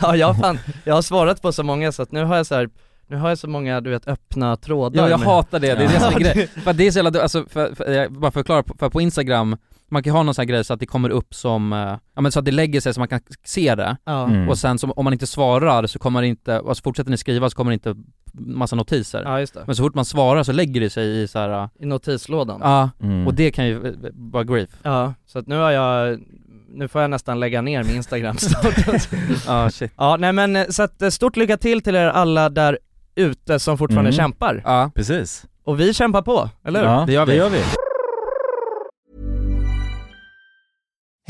Speaker 1: Ja jag har fan, jag har svarat på så många så att nu har jag så här, nu har jag så många du vet öppna trådar
Speaker 2: Ja jag
Speaker 1: med-
Speaker 2: hatar det, det är det
Speaker 3: Ja.
Speaker 2: som är grejen. För att det är så jävla du- alltså, för, för, jag bara förklarar, för på Instagram, man kan ha någon sån här grej så att det kommer upp som, eh, ja men så att det lägger sig så man kan se det.
Speaker 1: Ja.
Speaker 3: Mm.
Speaker 2: Och sen så, om man inte svarar så kommer det inte, alltså fortsätter ni skriva så kommer det inte massa notiser.
Speaker 1: ja just det,
Speaker 2: Men så fort man svarar så lägger det sig i så här. ja
Speaker 1: i notislådan. Ja.
Speaker 2: ah,
Speaker 3: Mm.
Speaker 2: och det kan ju eh, vara grief.
Speaker 1: så att nu har jag, nu får jag nästan lägga ner min instagram snart.
Speaker 2: Ja shit.
Speaker 1: Ja nej men eh, så att eh, stort lycka till till er alla där ute som fortfarande
Speaker 3: Mm.
Speaker 1: kämpar.
Speaker 2: Ja.
Speaker 3: Precis.
Speaker 1: Och vi kämpar på, eller hur?
Speaker 3: Ja,
Speaker 2: Det gör vi.
Speaker 3: Det gör vi.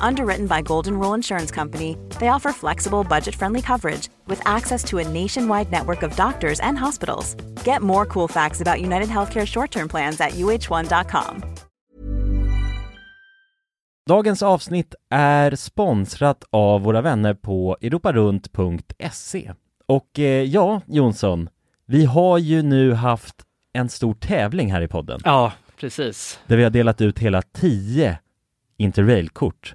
Speaker 6: Underwritten by Golden Rule Insurance Company, they offer flexible, budget friendly coverage with access to a nationwide network of doctors and hospitals. Get more cool facts about United Healthcare short term plans at uh1.com.
Speaker 3: Dagens avsnitt är sponsrat av våra vänner på europarunt.se. Och eh, ja, Jonsson, vi har ju nu haft en stor tävling här i podden
Speaker 7: Ja, precis.
Speaker 3: där vi har delat ut hela 10 Interrail-kort.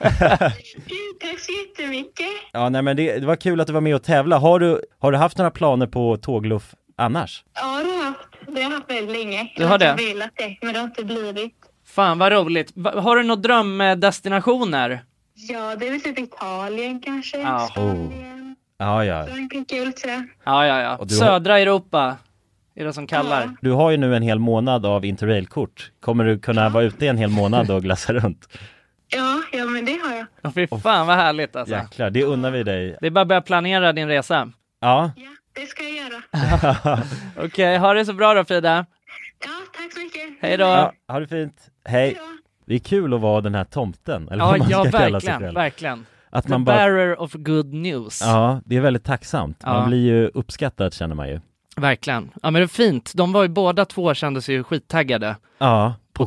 Speaker 8: Tack så jättemycket.
Speaker 3: Ja, nej men det, det var kul att du var med och tävla. Har du, har du haft några planer på tågluff annars?
Speaker 8: Ja, det har jag haft. Det har jag haft väldigt länge.
Speaker 1: Du har det?
Speaker 8: Jag har velat det, men det har inte blivit.
Speaker 1: Fan vad roligt. Va- har du några drömdestinationer?
Speaker 8: Ja, det är väl typ Italien kanske.
Speaker 1: Ja.
Speaker 3: Ja, ja.
Speaker 8: Frankrike kul tror jag.
Speaker 1: Ja, ja, ja.
Speaker 3: Och du har-
Speaker 1: Södra Europa är det som kallar.
Speaker 3: Du har ju nu en hel månad av interrailkort. Kommer du kunna vara ute en hel månad och glassa runt?
Speaker 8: Ja, ja, men det har jag.
Speaker 1: Åh, fy fan vad härligt alltså.
Speaker 3: Jäklar, det unnar vi dig.
Speaker 1: Det är bara att börja planera din resa.
Speaker 3: Ja.
Speaker 8: Det ska jag göra.
Speaker 1: Okej, ha det så bra då Frida.
Speaker 8: Ja, tack så mycket.
Speaker 1: Hej då.
Speaker 3: ja ha det fint. Hej. Det är kul att vara den här tomten, eller
Speaker 1: Ja,
Speaker 3: vad man
Speaker 1: ja
Speaker 3: ska kalla sig
Speaker 1: verkligen,
Speaker 3: själv.
Speaker 1: verkligen.
Speaker 3: Att
Speaker 1: The
Speaker 3: man bara-
Speaker 1: bearer of good news.
Speaker 3: Ja, det är väldigt tacksamt. Man
Speaker 1: Ja.
Speaker 3: blir ju uppskattad känner man ju.
Speaker 1: Verkligen. Ja men det är fint. De var ju båda två kändes ju skittaggade
Speaker 3: Ja.
Speaker 1: på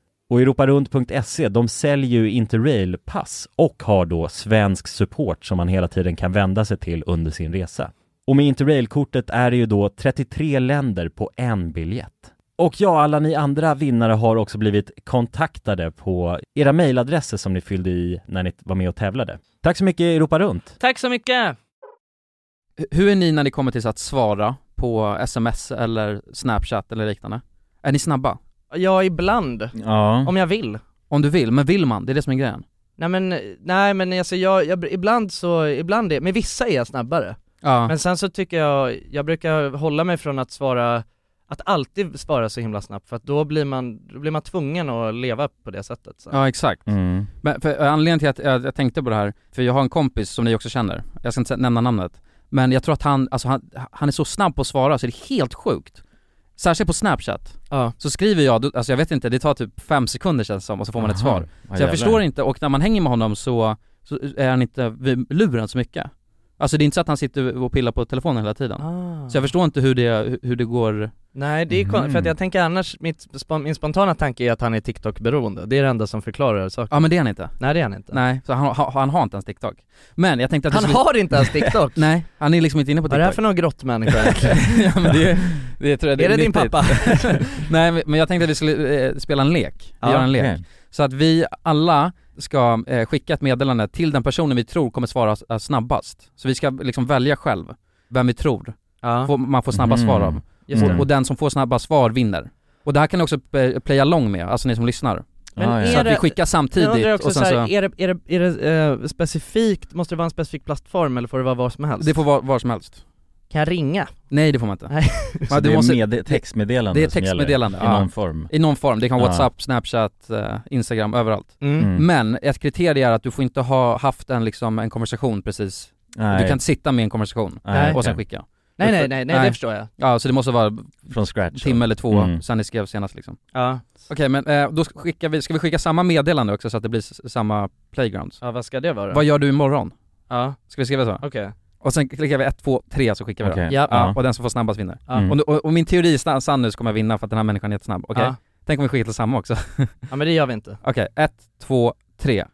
Speaker 3: Och europarunt.se, E, de säljer ju Interrail-pass och har då svensk support som man hela tiden kan vända sig till under sin resa. Och med Interrail-kortet är det ju då 33 länder på en biljett. Och ja, alla ni andra vinnare har också blivit kontaktade på era mejladresser som ni fyllde i när ni var med och tävlade. Tack så mycket Europa Runt!
Speaker 1: Tack så mycket!
Speaker 2: H- Hur är ni när ni kommer till så att svara på sms eller snapchat eller liknande? Är ni snabba?
Speaker 1: Ja, ibland.
Speaker 3: Ja.
Speaker 1: Om jag vill.
Speaker 2: Om du vill, men vill man? Det är det som är grejen.
Speaker 1: Nej men, nej men alltså jag, jag, ibland så, ibland är, med vissa är jag snabbare.
Speaker 2: Ja.
Speaker 1: Men sen så tycker jag, jag brukar hålla mig från att svara, att alltid svara så himla snabbt för att då blir man, då blir man tvungen att leva på det sättet. Så.
Speaker 2: Ja exakt.
Speaker 3: Mm.
Speaker 2: Men för, anledningen till att jag, jag tänkte på det här, för jag har en kompis som ni också känner, jag ska inte sä- nämna namnet, men jag tror att han, alltså han, han är så snabb på att svara så det är helt sjukt. Särskilt på snapchat.
Speaker 1: Ja.
Speaker 2: Så skriver jag, då- alltså jag vet inte, det tar typ fem sekunder känns det som och så får man ett
Speaker 3: Aha.
Speaker 2: svar.
Speaker 3: Ja,
Speaker 2: Så jag
Speaker 3: jävlar.
Speaker 2: förstår inte, och när man hänger med honom så, så är han inte vid luren så mycket. Alltså det är inte så att han sitter och pillar på telefonen hela tiden.
Speaker 1: Ah.
Speaker 2: Så jag förstår inte hur det, hur det går,
Speaker 1: Nej det är kon-
Speaker 2: Mhm.
Speaker 1: för att jag tänker annars, mitt, spon- min spontana tanke är att han är TikTok-beroende, det är det enda som förklarar saken.
Speaker 2: ja men det är han inte.
Speaker 1: Nej det är han inte.
Speaker 2: Nej, så han, han, han har inte ens TikTok. Men jag tänkte att vi
Speaker 1: Han
Speaker 2: skulle-
Speaker 1: har inte ens TikTok!
Speaker 2: Nej, han är liksom inte inne på
Speaker 1: Vad är det här
Speaker 2: TikTok.
Speaker 1: för någon grottmänniska egentligen?
Speaker 2: ja, men det, det tror jag
Speaker 1: Är det din
Speaker 2: nyttigt.
Speaker 1: pappa?
Speaker 2: Nej men- men jag tänkte att vi skulle eh, spela en lek, vi
Speaker 1: Ja,
Speaker 2: gör en lek.
Speaker 3: okej.
Speaker 2: Så att vi alla ska eh, skicka ett meddelande till den personen vi tror kommer svara s- eh, snabbast. Så vi ska liksom välja själv vem vi tror
Speaker 1: Ja,
Speaker 2: får, man får snabbast svar av.
Speaker 3: Mm. Just det.
Speaker 2: Och, och den som får snabbast svar vinner. Och det här kan ni också eh, playa along med, alltså ni som lyssnar.
Speaker 1: Men är
Speaker 2: Så att vi
Speaker 1: det-
Speaker 2: skickar
Speaker 1: Jag
Speaker 2: samtidigt
Speaker 1: undrar också
Speaker 2: och sen
Speaker 1: så här,
Speaker 2: så,
Speaker 1: är det, är det, är det eh, specifikt, måste det vara en specifik plattform eller får det vara var som helst?
Speaker 2: det får vara var som helst.
Speaker 1: Kan jag ringa?
Speaker 2: Nej det får man inte.
Speaker 1: Nej.
Speaker 3: Så det är med- textmeddelande
Speaker 2: Det är
Speaker 3: som gäller,
Speaker 2: textmeddelande,
Speaker 3: i någon form.
Speaker 2: I någon form, det kan
Speaker 3: Ja.
Speaker 2: vara WhatsApp, Snapchat, eh, Instagram, överallt.
Speaker 3: Mm. Mm.
Speaker 2: Men ett kriterie är att du får inte ha haft en, liksom, en konversation precis.
Speaker 3: Nej.
Speaker 2: Du kan inte sitta med en konversation
Speaker 3: Nej,
Speaker 2: och sen
Speaker 3: okej.
Speaker 2: skicka.
Speaker 1: Nej, nej, nej, nej, det förstår jag.
Speaker 2: Ja, så det måste vara
Speaker 3: Från scratch.
Speaker 2: timme eller två
Speaker 3: Mm.
Speaker 2: sen ni skrev senast liksom.
Speaker 1: Ja.
Speaker 2: Okej men eh, då skickar vi, ska vi skicka samma meddelande också så att det blir s- samma playground?
Speaker 1: Ja vad ska det vara?
Speaker 2: Vad gör du imorgon?
Speaker 1: Ja.
Speaker 2: Ska vi skriva så?
Speaker 1: Okej.
Speaker 2: Och sen klickar vi 1, 2, 3 så skickar vi
Speaker 1: Okej.
Speaker 2: det.
Speaker 1: Ja.
Speaker 2: Ja, och den som får snabbast vinner.
Speaker 1: Ja. Mm.
Speaker 2: Och, nu- och, och min teori är sann- sann nu så kommer jag vinna för att den här människan är jättesnabb, okej?
Speaker 1: Ja.
Speaker 2: Tänk om vi skickar till samma också?
Speaker 1: Ja men det gör vi inte.
Speaker 2: Okej, 1, 2, 3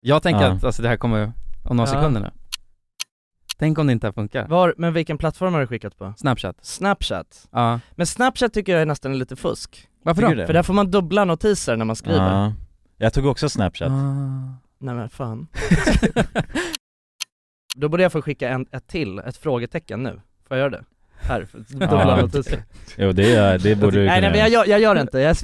Speaker 2: Jag tänker
Speaker 1: Ja.
Speaker 2: att alltså, det här kommer om några
Speaker 1: Ja.
Speaker 2: sekunder nu Tänk om det inte funkar?
Speaker 1: Var, men vilken plattform har du skickat på?
Speaker 2: Snapchat
Speaker 1: Snapchat?
Speaker 2: Ja
Speaker 1: Men Snapchat tycker jag är nästan lite fusk.
Speaker 2: Varför
Speaker 3: Tycker då? du det?
Speaker 1: För där får man dubbla notiser när man skriver.
Speaker 3: Ja. Jag tog också Snapchat.
Speaker 2: Ah.
Speaker 1: Nej men fan. Då borde jag få skicka en, ett till, ett frågetecken nu. Får jag göra det? Här, för att dubbla
Speaker 3: Ja.
Speaker 1: notiser.
Speaker 3: Jo det, är, det borde du
Speaker 1: Alltså, Nej nej
Speaker 3: kunna
Speaker 1: men jag,
Speaker 3: göra.
Speaker 1: gör- jag gör det inte, jag,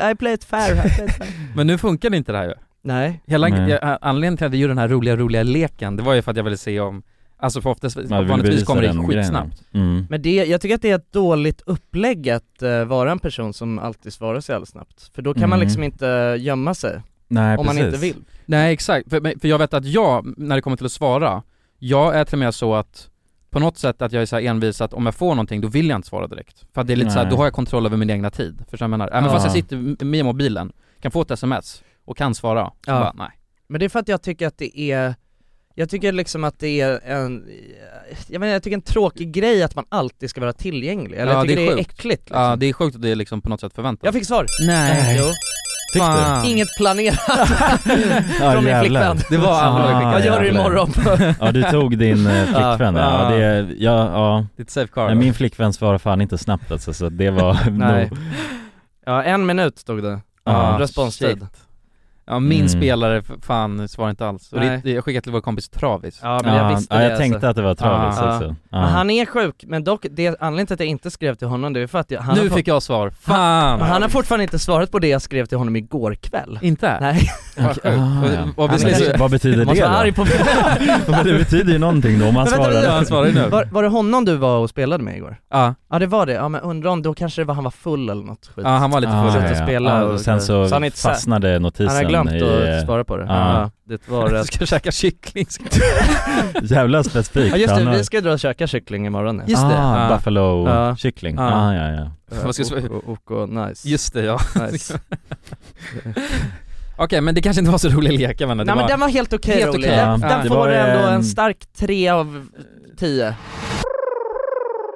Speaker 1: jag, I play it fair, I play it fair.
Speaker 2: Men nu funkar det inte det här ju
Speaker 1: Nej
Speaker 2: Hela
Speaker 3: Nej.
Speaker 2: jag- anledningen till att jag gjorde den här roliga, roliga leken, det var ju för att jag ville se om Alltså för oftast,
Speaker 3: Man vill
Speaker 2: vanligtvis
Speaker 3: bevisa
Speaker 2: kommer det
Speaker 3: den
Speaker 2: skitsnabbt
Speaker 3: grejen. Mm.
Speaker 1: Men det, jag tycker att det är ett dåligt upplägg att eh, vara en person som alltid svarar så jävla snabbt. För då kan man
Speaker 3: Mm.
Speaker 1: liksom inte gömma sig.
Speaker 3: Nej,
Speaker 1: om man
Speaker 3: precis.
Speaker 1: inte vill.
Speaker 2: Nej exakt, för, men- för jag vet att jag, när det kommer till att svara, jag är till och med så att på något sätt att jag är så här envis att om jag får någonting då vill jag inte svara direkt. För att det är lite så här,
Speaker 3: Nej.
Speaker 2: då har jag kontroll över min egna tid. Förstår du vad jag menar? Även fast
Speaker 3: Ja.
Speaker 2: jag sitter m- med mobilen, kan få ett sms och kan svara, så
Speaker 1: Ja.
Speaker 2: bara nej.
Speaker 1: Men det är för att jag tycker att det är, jag tycker liksom att det är en, jag menar jag tycker en tråkig grej att man alltid ska vara tillgänglig. Eller
Speaker 2: Ja,
Speaker 1: jag tycker det är,
Speaker 2: sjukt.
Speaker 1: äckligt liksom.
Speaker 2: Ja det är sjukt att det är liksom på något sätt förväntat.
Speaker 1: Jag fick svar!
Speaker 2: Nej.
Speaker 1: Jo.
Speaker 2: Fick du?
Speaker 1: Inget planerat
Speaker 3: Ja,
Speaker 1: från min
Speaker 3: jävlar.
Speaker 1: flickvän.
Speaker 2: Det var alla jag
Speaker 3: Ah,
Speaker 2: skickade.
Speaker 1: Vad gör du
Speaker 3: jävlar.
Speaker 1: imorgon?
Speaker 3: Ja du tog din eh, flickvän ja,
Speaker 1: Ah.
Speaker 2: Ja.
Speaker 3: ja. det, är- ja, ja.
Speaker 2: Ditt safe card.
Speaker 3: Nej, min flickvän svarar fan inte snabbt alltså, så det var
Speaker 1: Nej.
Speaker 3: nog
Speaker 1: Ja, en minut stod det.
Speaker 3: Ja.
Speaker 1: Responstid.
Speaker 2: Shit. Ja min
Speaker 3: Mm.
Speaker 2: spelare f- fan svarar inte alls. Och
Speaker 1: Nej.
Speaker 2: det, det- jag skickade till vår kompis Travis.
Speaker 1: Ja men jag visste
Speaker 3: ja,
Speaker 1: det alltså. Ah.
Speaker 3: jag tänkte att det var tragiskt
Speaker 2: Ja.
Speaker 3: också ja.
Speaker 1: Men han är sjuk, men dock, det, anledningen till att jag inte skrev till honom det är för att jag, han,
Speaker 2: Nu
Speaker 1: har,
Speaker 2: fick jag svar.
Speaker 1: fått-
Speaker 2: Fan!
Speaker 1: han har fortfarande inte svarat på det jag skrev till honom igår kväll
Speaker 2: Inte?
Speaker 1: Nej,
Speaker 2: Vad sjukt.
Speaker 3: Ah, ja.
Speaker 2: Och- och vi
Speaker 3: Men
Speaker 2: säger-
Speaker 3: det- Vad betyder
Speaker 1: man måste
Speaker 3: det
Speaker 1: vara
Speaker 3: då?
Speaker 1: arg på mig
Speaker 3: Men det betyder ju någonting då om han
Speaker 1: Men vänta,
Speaker 3: svarar Mm.
Speaker 1: vänta,
Speaker 2: Han svarar ju nu.
Speaker 1: var, var det honom du var och spelade med igår?
Speaker 2: Ja,
Speaker 1: Ja det var det, ja men undrar om, då kanske det var han var full eller något skit
Speaker 2: ja han var lite
Speaker 3: Ah,
Speaker 2: full.
Speaker 1: Suttit och spelat
Speaker 3: Ja,
Speaker 1: och-
Speaker 3: och sen så,
Speaker 1: Så han är inte så-
Speaker 3: fastnade notisen
Speaker 1: Han har glömt att
Speaker 3: i, eh,
Speaker 1: svara på det,
Speaker 3: ja.
Speaker 1: ja, det var ett...
Speaker 2: Ska käka kyckling.
Speaker 3: Jävla specifikt
Speaker 1: Ja just
Speaker 3: Han
Speaker 1: det,
Speaker 3: har-
Speaker 1: vi ska dra och käka kyckling imorgon ja.
Speaker 2: Just det.
Speaker 3: Ah,
Speaker 2: Ja.
Speaker 1: Ja.
Speaker 3: Buffalo-kyckling,
Speaker 2: Ja.
Speaker 3: ah, ja ja
Speaker 2: Vad ska-
Speaker 1: och, och, och, nice
Speaker 2: Just det ja.
Speaker 1: nice.
Speaker 2: Okej men det kanske inte var så rolig lek, jag menar. det
Speaker 1: Nej men
Speaker 2: var-
Speaker 1: den var helt okej
Speaker 2: Helt
Speaker 1: rolig,
Speaker 2: okej.
Speaker 1: den,
Speaker 2: Ja.
Speaker 1: den
Speaker 3: Det
Speaker 1: får
Speaker 3: var,
Speaker 1: ändå
Speaker 3: ehm,
Speaker 1: en stark 3 av 10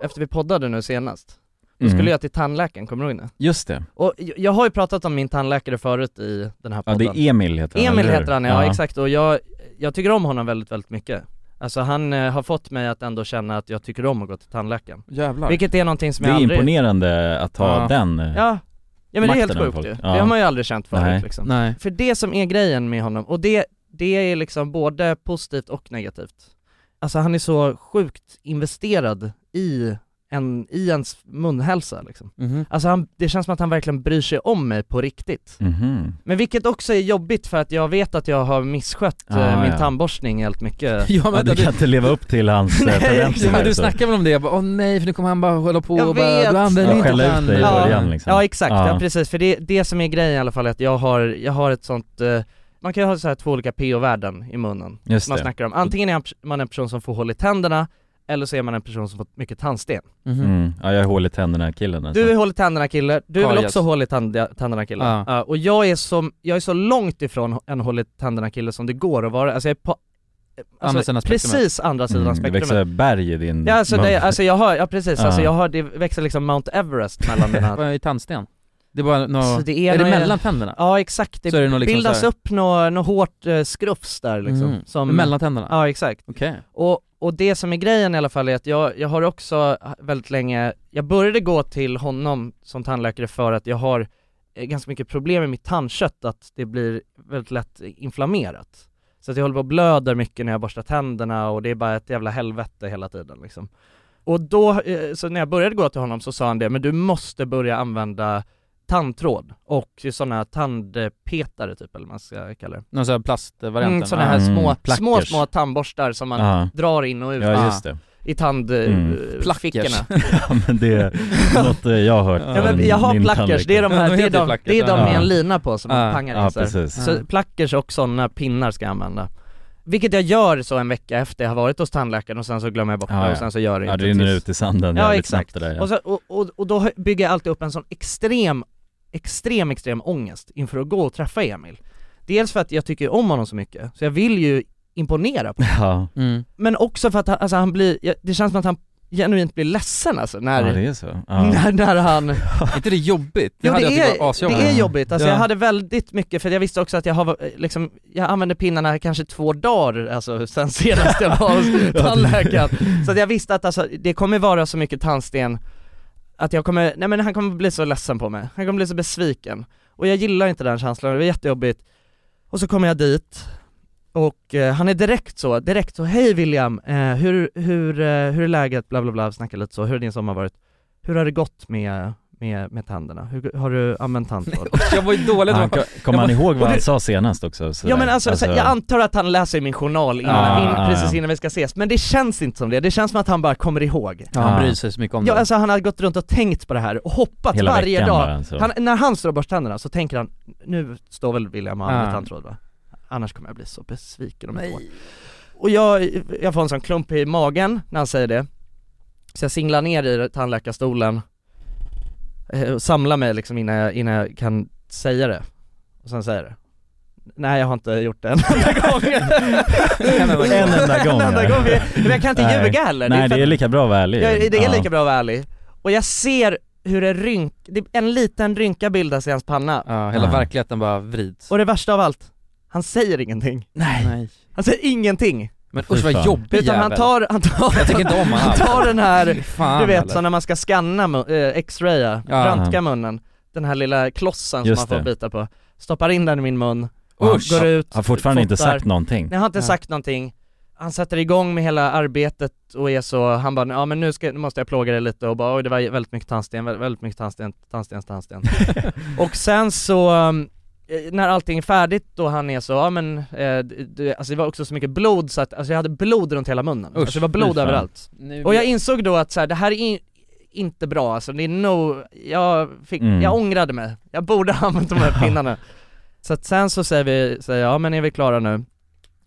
Speaker 1: Efter vi poddade nu senast, då
Speaker 3: Mm.
Speaker 1: skulle jag till tandläkaren, kommer du ihåg det?
Speaker 3: Just det,
Speaker 1: Och j- jag har ju pratat om min tandläkare förut i den här
Speaker 3: ja
Speaker 1: podden
Speaker 3: det är Emil heter han
Speaker 1: Emil
Speaker 3: eller hur?
Speaker 1: heter han ja, exakt och jag, jag tycker om honom väldigt väldigt mycket Alltså han eh, har fått mig att ändå känna att jag tycker om att gå till tandläkaren
Speaker 2: Jävlar.
Speaker 1: Vilket är någonting som
Speaker 3: Det
Speaker 1: jag
Speaker 3: är
Speaker 1: aldrig...
Speaker 3: imponerande att ha
Speaker 2: Ja.
Speaker 3: den eh,
Speaker 1: Ja, ja men det är helt
Speaker 3: Makten över
Speaker 1: sjukt ju,
Speaker 3: folk.
Speaker 1: det
Speaker 3: Ja.
Speaker 1: har man ju aldrig känt förut
Speaker 3: Nej.
Speaker 1: liksom
Speaker 2: Nej.
Speaker 1: för det som är grejen med honom, och det, det är liksom både positivt och negativt. Alltså han är så sjukt investerad i, en, i ens munhälsa liksom.
Speaker 2: Mhm.
Speaker 1: Alltså han, det känns som att han verkligen bryr sig om mig på riktigt.
Speaker 3: Mhm.
Speaker 1: Men vilket också är jobbigt för att jag vet att jag har misskött eh,
Speaker 3: Ah,
Speaker 1: min
Speaker 3: ja. Liksom.
Speaker 1: tandborstning helt mycket.
Speaker 2: Ja
Speaker 3: Ja,
Speaker 2: men
Speaker 3: du kan
Speaker 2: du,
Speaker 3: inte leva upp till hans eh, förväntningar
Speaker 2: men du
Speaker 3: alltså.
Speaker 2: snackade väl om det? Jag bara, åh nej för nu kommer han bara hålla på
Speaker 1: Jag
Speaker 2: och bara
Speaker 1: vet.
Speaker 2: blanda
Speaker 1: Ja,
Speaker 2: in
Speaker 3: skälla ut dig i början liksom
Speaker 1: Ja exakt, ja.
Speaker 3: Ja.
Speaker 1: precis. För det, det som är grejen i alla fall är att jag har, jag har ett sånt, eh, man kan ju ha så här två olika PO-värden i munnen.
Speaker 3: Just
Speaker 1: man
Speaker 3: det.
Speaker 1: snackar om. Antingen är man en person som får hål i tänderna, eller så är man en person som fått mycket tandsten.
Speaker 2: Mhm.
Speaker 3: Mm. Ja jag har hål i tänderna killen alltså.
Speaker 1: Du Mm, är hål i tänderna kille, du är väl
Speaker 2: Karies.
Speaker 1: också hål i tänd- tänderna kille?
Speaker 2: Ja.
Speaker 1: Ja, och jag är, som, jag är så långt ifrån en hål i tänderna kille som det går att vara, alltså jag är på
Speaker 2: Andra
Speaker 1: alltså,
Speaker 2: sidan spektrumet.
Speaker 1: precis andra sidan
Speaker 3: Mm, det
Speaker 1: spektrumet
Speaker 3: växer berg i din
Speaker 1: Ja alltså,
Speaker 3: mun.
Speaker 1: det, alltså jag har, ja precis, alltså
Speaker 3: Ja.
Speaker 1: jag har, det växer liksom Mount Everest mellan mina
Speaker 2: Vad är tandsten? Det är bara
Speaker 1: Så
Speaker 2: nå...
Speaker 1: det är
Speaker 2: Är det
Speaker 1: några-
Speaker 2: mellan tänderna?
Speaker 1: Ja exakt, det,
Speaker 2: Så är det nog liksom
Speaker 1: bildas
Speaker 2: så här-
Speaker 1: upp något nå hårt eh, skrufs där
Speaker 3: Mm,
Speaker 1: liksom
Speaker 2: Mhm.
Speaker 1: som,
Speaker 2: Mellan tänderna?
Speaker 1: Ja exakt,
Speaker 2: Okej.
Speaker 1: och, och det som är grejen i alla fall är att jag, jag har också väldigt länge, jag började gå till honom som tandläkare för att jag har eh, ganska mycket problem med mitt tandkött, att det blir väldigt lätt inflammerat så att jag håller på och blöder mycket när jag borstar tänderna och det är bara ett jävla helvete hela tiden liksom Och då, eh, så när jag började gå till honom så sa han det, men du måste börja använda tandtråd och sådana tandpetare typ, eller vad man ska kalla det.
Speaker 4: Någon sån här plastvarianten?
Speaker 1: Mm, sådana här
Speaker 4: Ah.
Speaker 1: små,
Speaker 4: Mm,
Speaker 1: små,
Speaker 4: plackers.
Speaker 1: små tandborstar som man
Speaker 3: Ja.
Speaker 1: drar in och ut
Speaker 3: Ja, Mm. just det.
Speaker 1: i eh, tandfickorna.
Speaker 3: ja men det är något eh, jag har hört
Speaker 1: Ja, men jag har plackers, det är de här, det är de, det är de med en lina på som man pangar
Speaker 3: ja,
Speaker 1: in så, här.
Speaker 3: precis.
Speaker 1: så plackers och sådana pinnar ska jag använda Vilket jag gör så en vecka efter jag har varit hos tandläkaren och sen så glömmer jag bort
Speaker 3: Ja,
Speaker 1: det
Speaker 3: ja.
Speaker 1: och sen så gör jag
Speaker 3: Ja,
Speaker 1: inte
Speaker 3: det rinner
Speaker 1: tills-
Speaker 3: ut i sanden
Speaker 1: Ja
Speaker 3: jävligt
Speaker 1: exakt,
Speaker 3: snabbt det där, ja.
Speaker 1: och, så, och, och, och då bygger jag alltid upp en sån extrem, extrem, extrem ångest inför att gå och träffa Emil Dels för att jag tycker om honom så mycket, så jag vill ju imponera på honom
Speaker 3: Ja.
Speaker 2: Mm.
Speaker 1: men också för att han, alltså han blir, ja, det känns som att han genuint blir ledsen alltså när,
Speaker 3: Ja, det är så. Ja.
Speaker 1: när, när han
Speaker 4: inte det jobbigt?
Speaker 1: Jo
Speaker 4: hade jag
Speaker 1: det
Speaker 4: tyckt var
Speaker 1: är,
Speaker 4: asjobbigt.
Speaker 1: det är jobbigt, alltså
Speaker 4: Ja.
Speaker 1: jag hade väldigt mycket, för jag visste också att jag har eh, liksom, jag använde pinnarna kanske två dagar alltså sen senast jag var hos tandläkaren Så att jag visste att alltså, det kommer vara så mycket tandsten att jag kommer, nej men han kommer bli så ledsen på mig, han kommer bli så besviken Och jag gillar inte den känslan, det var jättejobbigt Och så kommer jag dit och eh, han är direkt så, direkt så, hej William, eh, hur, hur, eh, hur är läget, bla bla bla, snackar lite så, hur har din sommar varit? Hur har det gått med, med, med tänderna? Hur, har du använt tandtråd?
Speaker 4: Jag var ju dålig
Speaker 3: Han, kom- kommer han ihåg vad han sa senast också? sådär?
Speaker 1: Ja men alltså, så- jag antar att han läser i min journal innan,
Speaker 3: Ja,
Speaker 1: in,
Speaker 3: ja, ja.
Speaker 1: precis innan vi ska ses, men det känns inte som det, det känns som att han bara kommer ihåg
Speaker 4: Ja, han bryr sig så mycket om
Speaker 1: Ja
Speaker 4: det.
Speaker 1: alltså han har gått runt och tänkt på det här och hoppat
Speaker 4: Hela
Speaker 1: varje
Speaker 4: veckan
Speaker 1: dag.
Speaker 4: bara,
Speaker 3: alltså.
Speaker 4: så.
Speaker 1: han, när han står och borstar tänderna så tänker han, nu står väl William och
Speaker 4: Ja.
Speaker 1: har ja. tandtråd va? Annars kommer jag bli så besviken om ett år. Och jag, jag får en sån klump i magen när han säger det. Så jag singlar ner i tandläkarstolen eh, och samlar mig liksom innan jag, innan jag kan säga det. Och sen säger jag det. Nej jag har inte gjort det en enda gång.
Speaker 3: En enda gång,
Speaker 1: En enda
Speaker 3: ja.
Speaker 1: gång. Men jag kan inte
Speaker 3: Nej.
Speaker 1: ljuga heller. för
Speaker 3: Nej det är
Speaker 1: att-
Speaker 3: lika bra att vara ärlig
Speaker 1: Ja, det är
Speaker 3: Ja.
Speaker 1: lika bra att vara ärlig. Och jag ser hur det rynk, det- en liten rynka bildas i hans panna.
Speaker 4: Ja, hela verkligheten bara vrids.
Speaker 1: Och det värsta av allt, han säger ingenting.
Speaker 4: Nej.
Speaker 1: Han säger ingenting.
Speaker 4: Men usch vad jobbig
Speaker 1: Utan han
Speaker 4: jävel.
Speaker 1: tar, han tar,
Speaker 4: Jag tycker inte om han alls.
Speaker 1: tar den här,
Speaker 4: Fan, alltså.
Speaker 1: du vet
Speaker 4: eller?
Speaker 1: så när man ska scanna, mu- eh, x-raya,
Speaker 4: Ja.
Speaker 1: röntga munnen, den här lilla klossen
Speaker 3: Just
Speaker 1: som man får
Speaker 3: det.
Speaker 1: bita på, stoppar in den i min mun,
Speaker 3: Och han-
Speaker 1: går ut,
Speaker 3: har fortfarande inte
Speaker 1: fotar.
Speaker 3: sagt någonting.
Speaker 1: Nej, han har inte
Speaker 3: Ja.
Speaker 1: sagt någonting. Han sätter igång med hela arbetet och är så, han bara ja men nu, ska, nu måste jag plåga dig lite och bara oj det var väldigt mycket tandsten, vä- väldigt mycket tandsten, tandsten, tandsten. och sen så, um, eh, när allting är färdigt då han är så, ja men, eh, d- d- alltså det var också så mycket blod så att, alltså jag hade blod runt hela munnen.
Speaker 4: Usch,
Speaker 1: alltså det var
Speaker 4: fy
Speaker 1: blod
Speaker 4: fan.
Speaker 1: överallt.
Speaker 4: Nu-
Speaker 1: Och jag insåg då att så här, det här är in, inte bra alltså, det är no, jag fick,
Speaker 4: Mm.
Speaker 1: jag ångrade mig. Jag borde ha använt de här pinnarna. Så att sen så säger vi, säger jag, ja men är vi klara nu?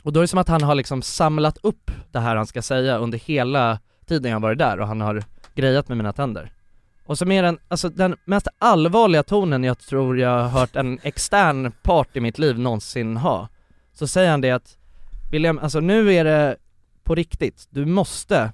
Speaker 1: Och då är det som att han har liksom samlat upp det här han ska säga under hela tiden jag har varit där och han har grejat med mina tänder. Och så med den, alltså den mest allvarliga tonen jag tror jag har hört en extern part i mitt liv någonsin ha. Så säger han det att William, alltså nu är det på riktigt, du måste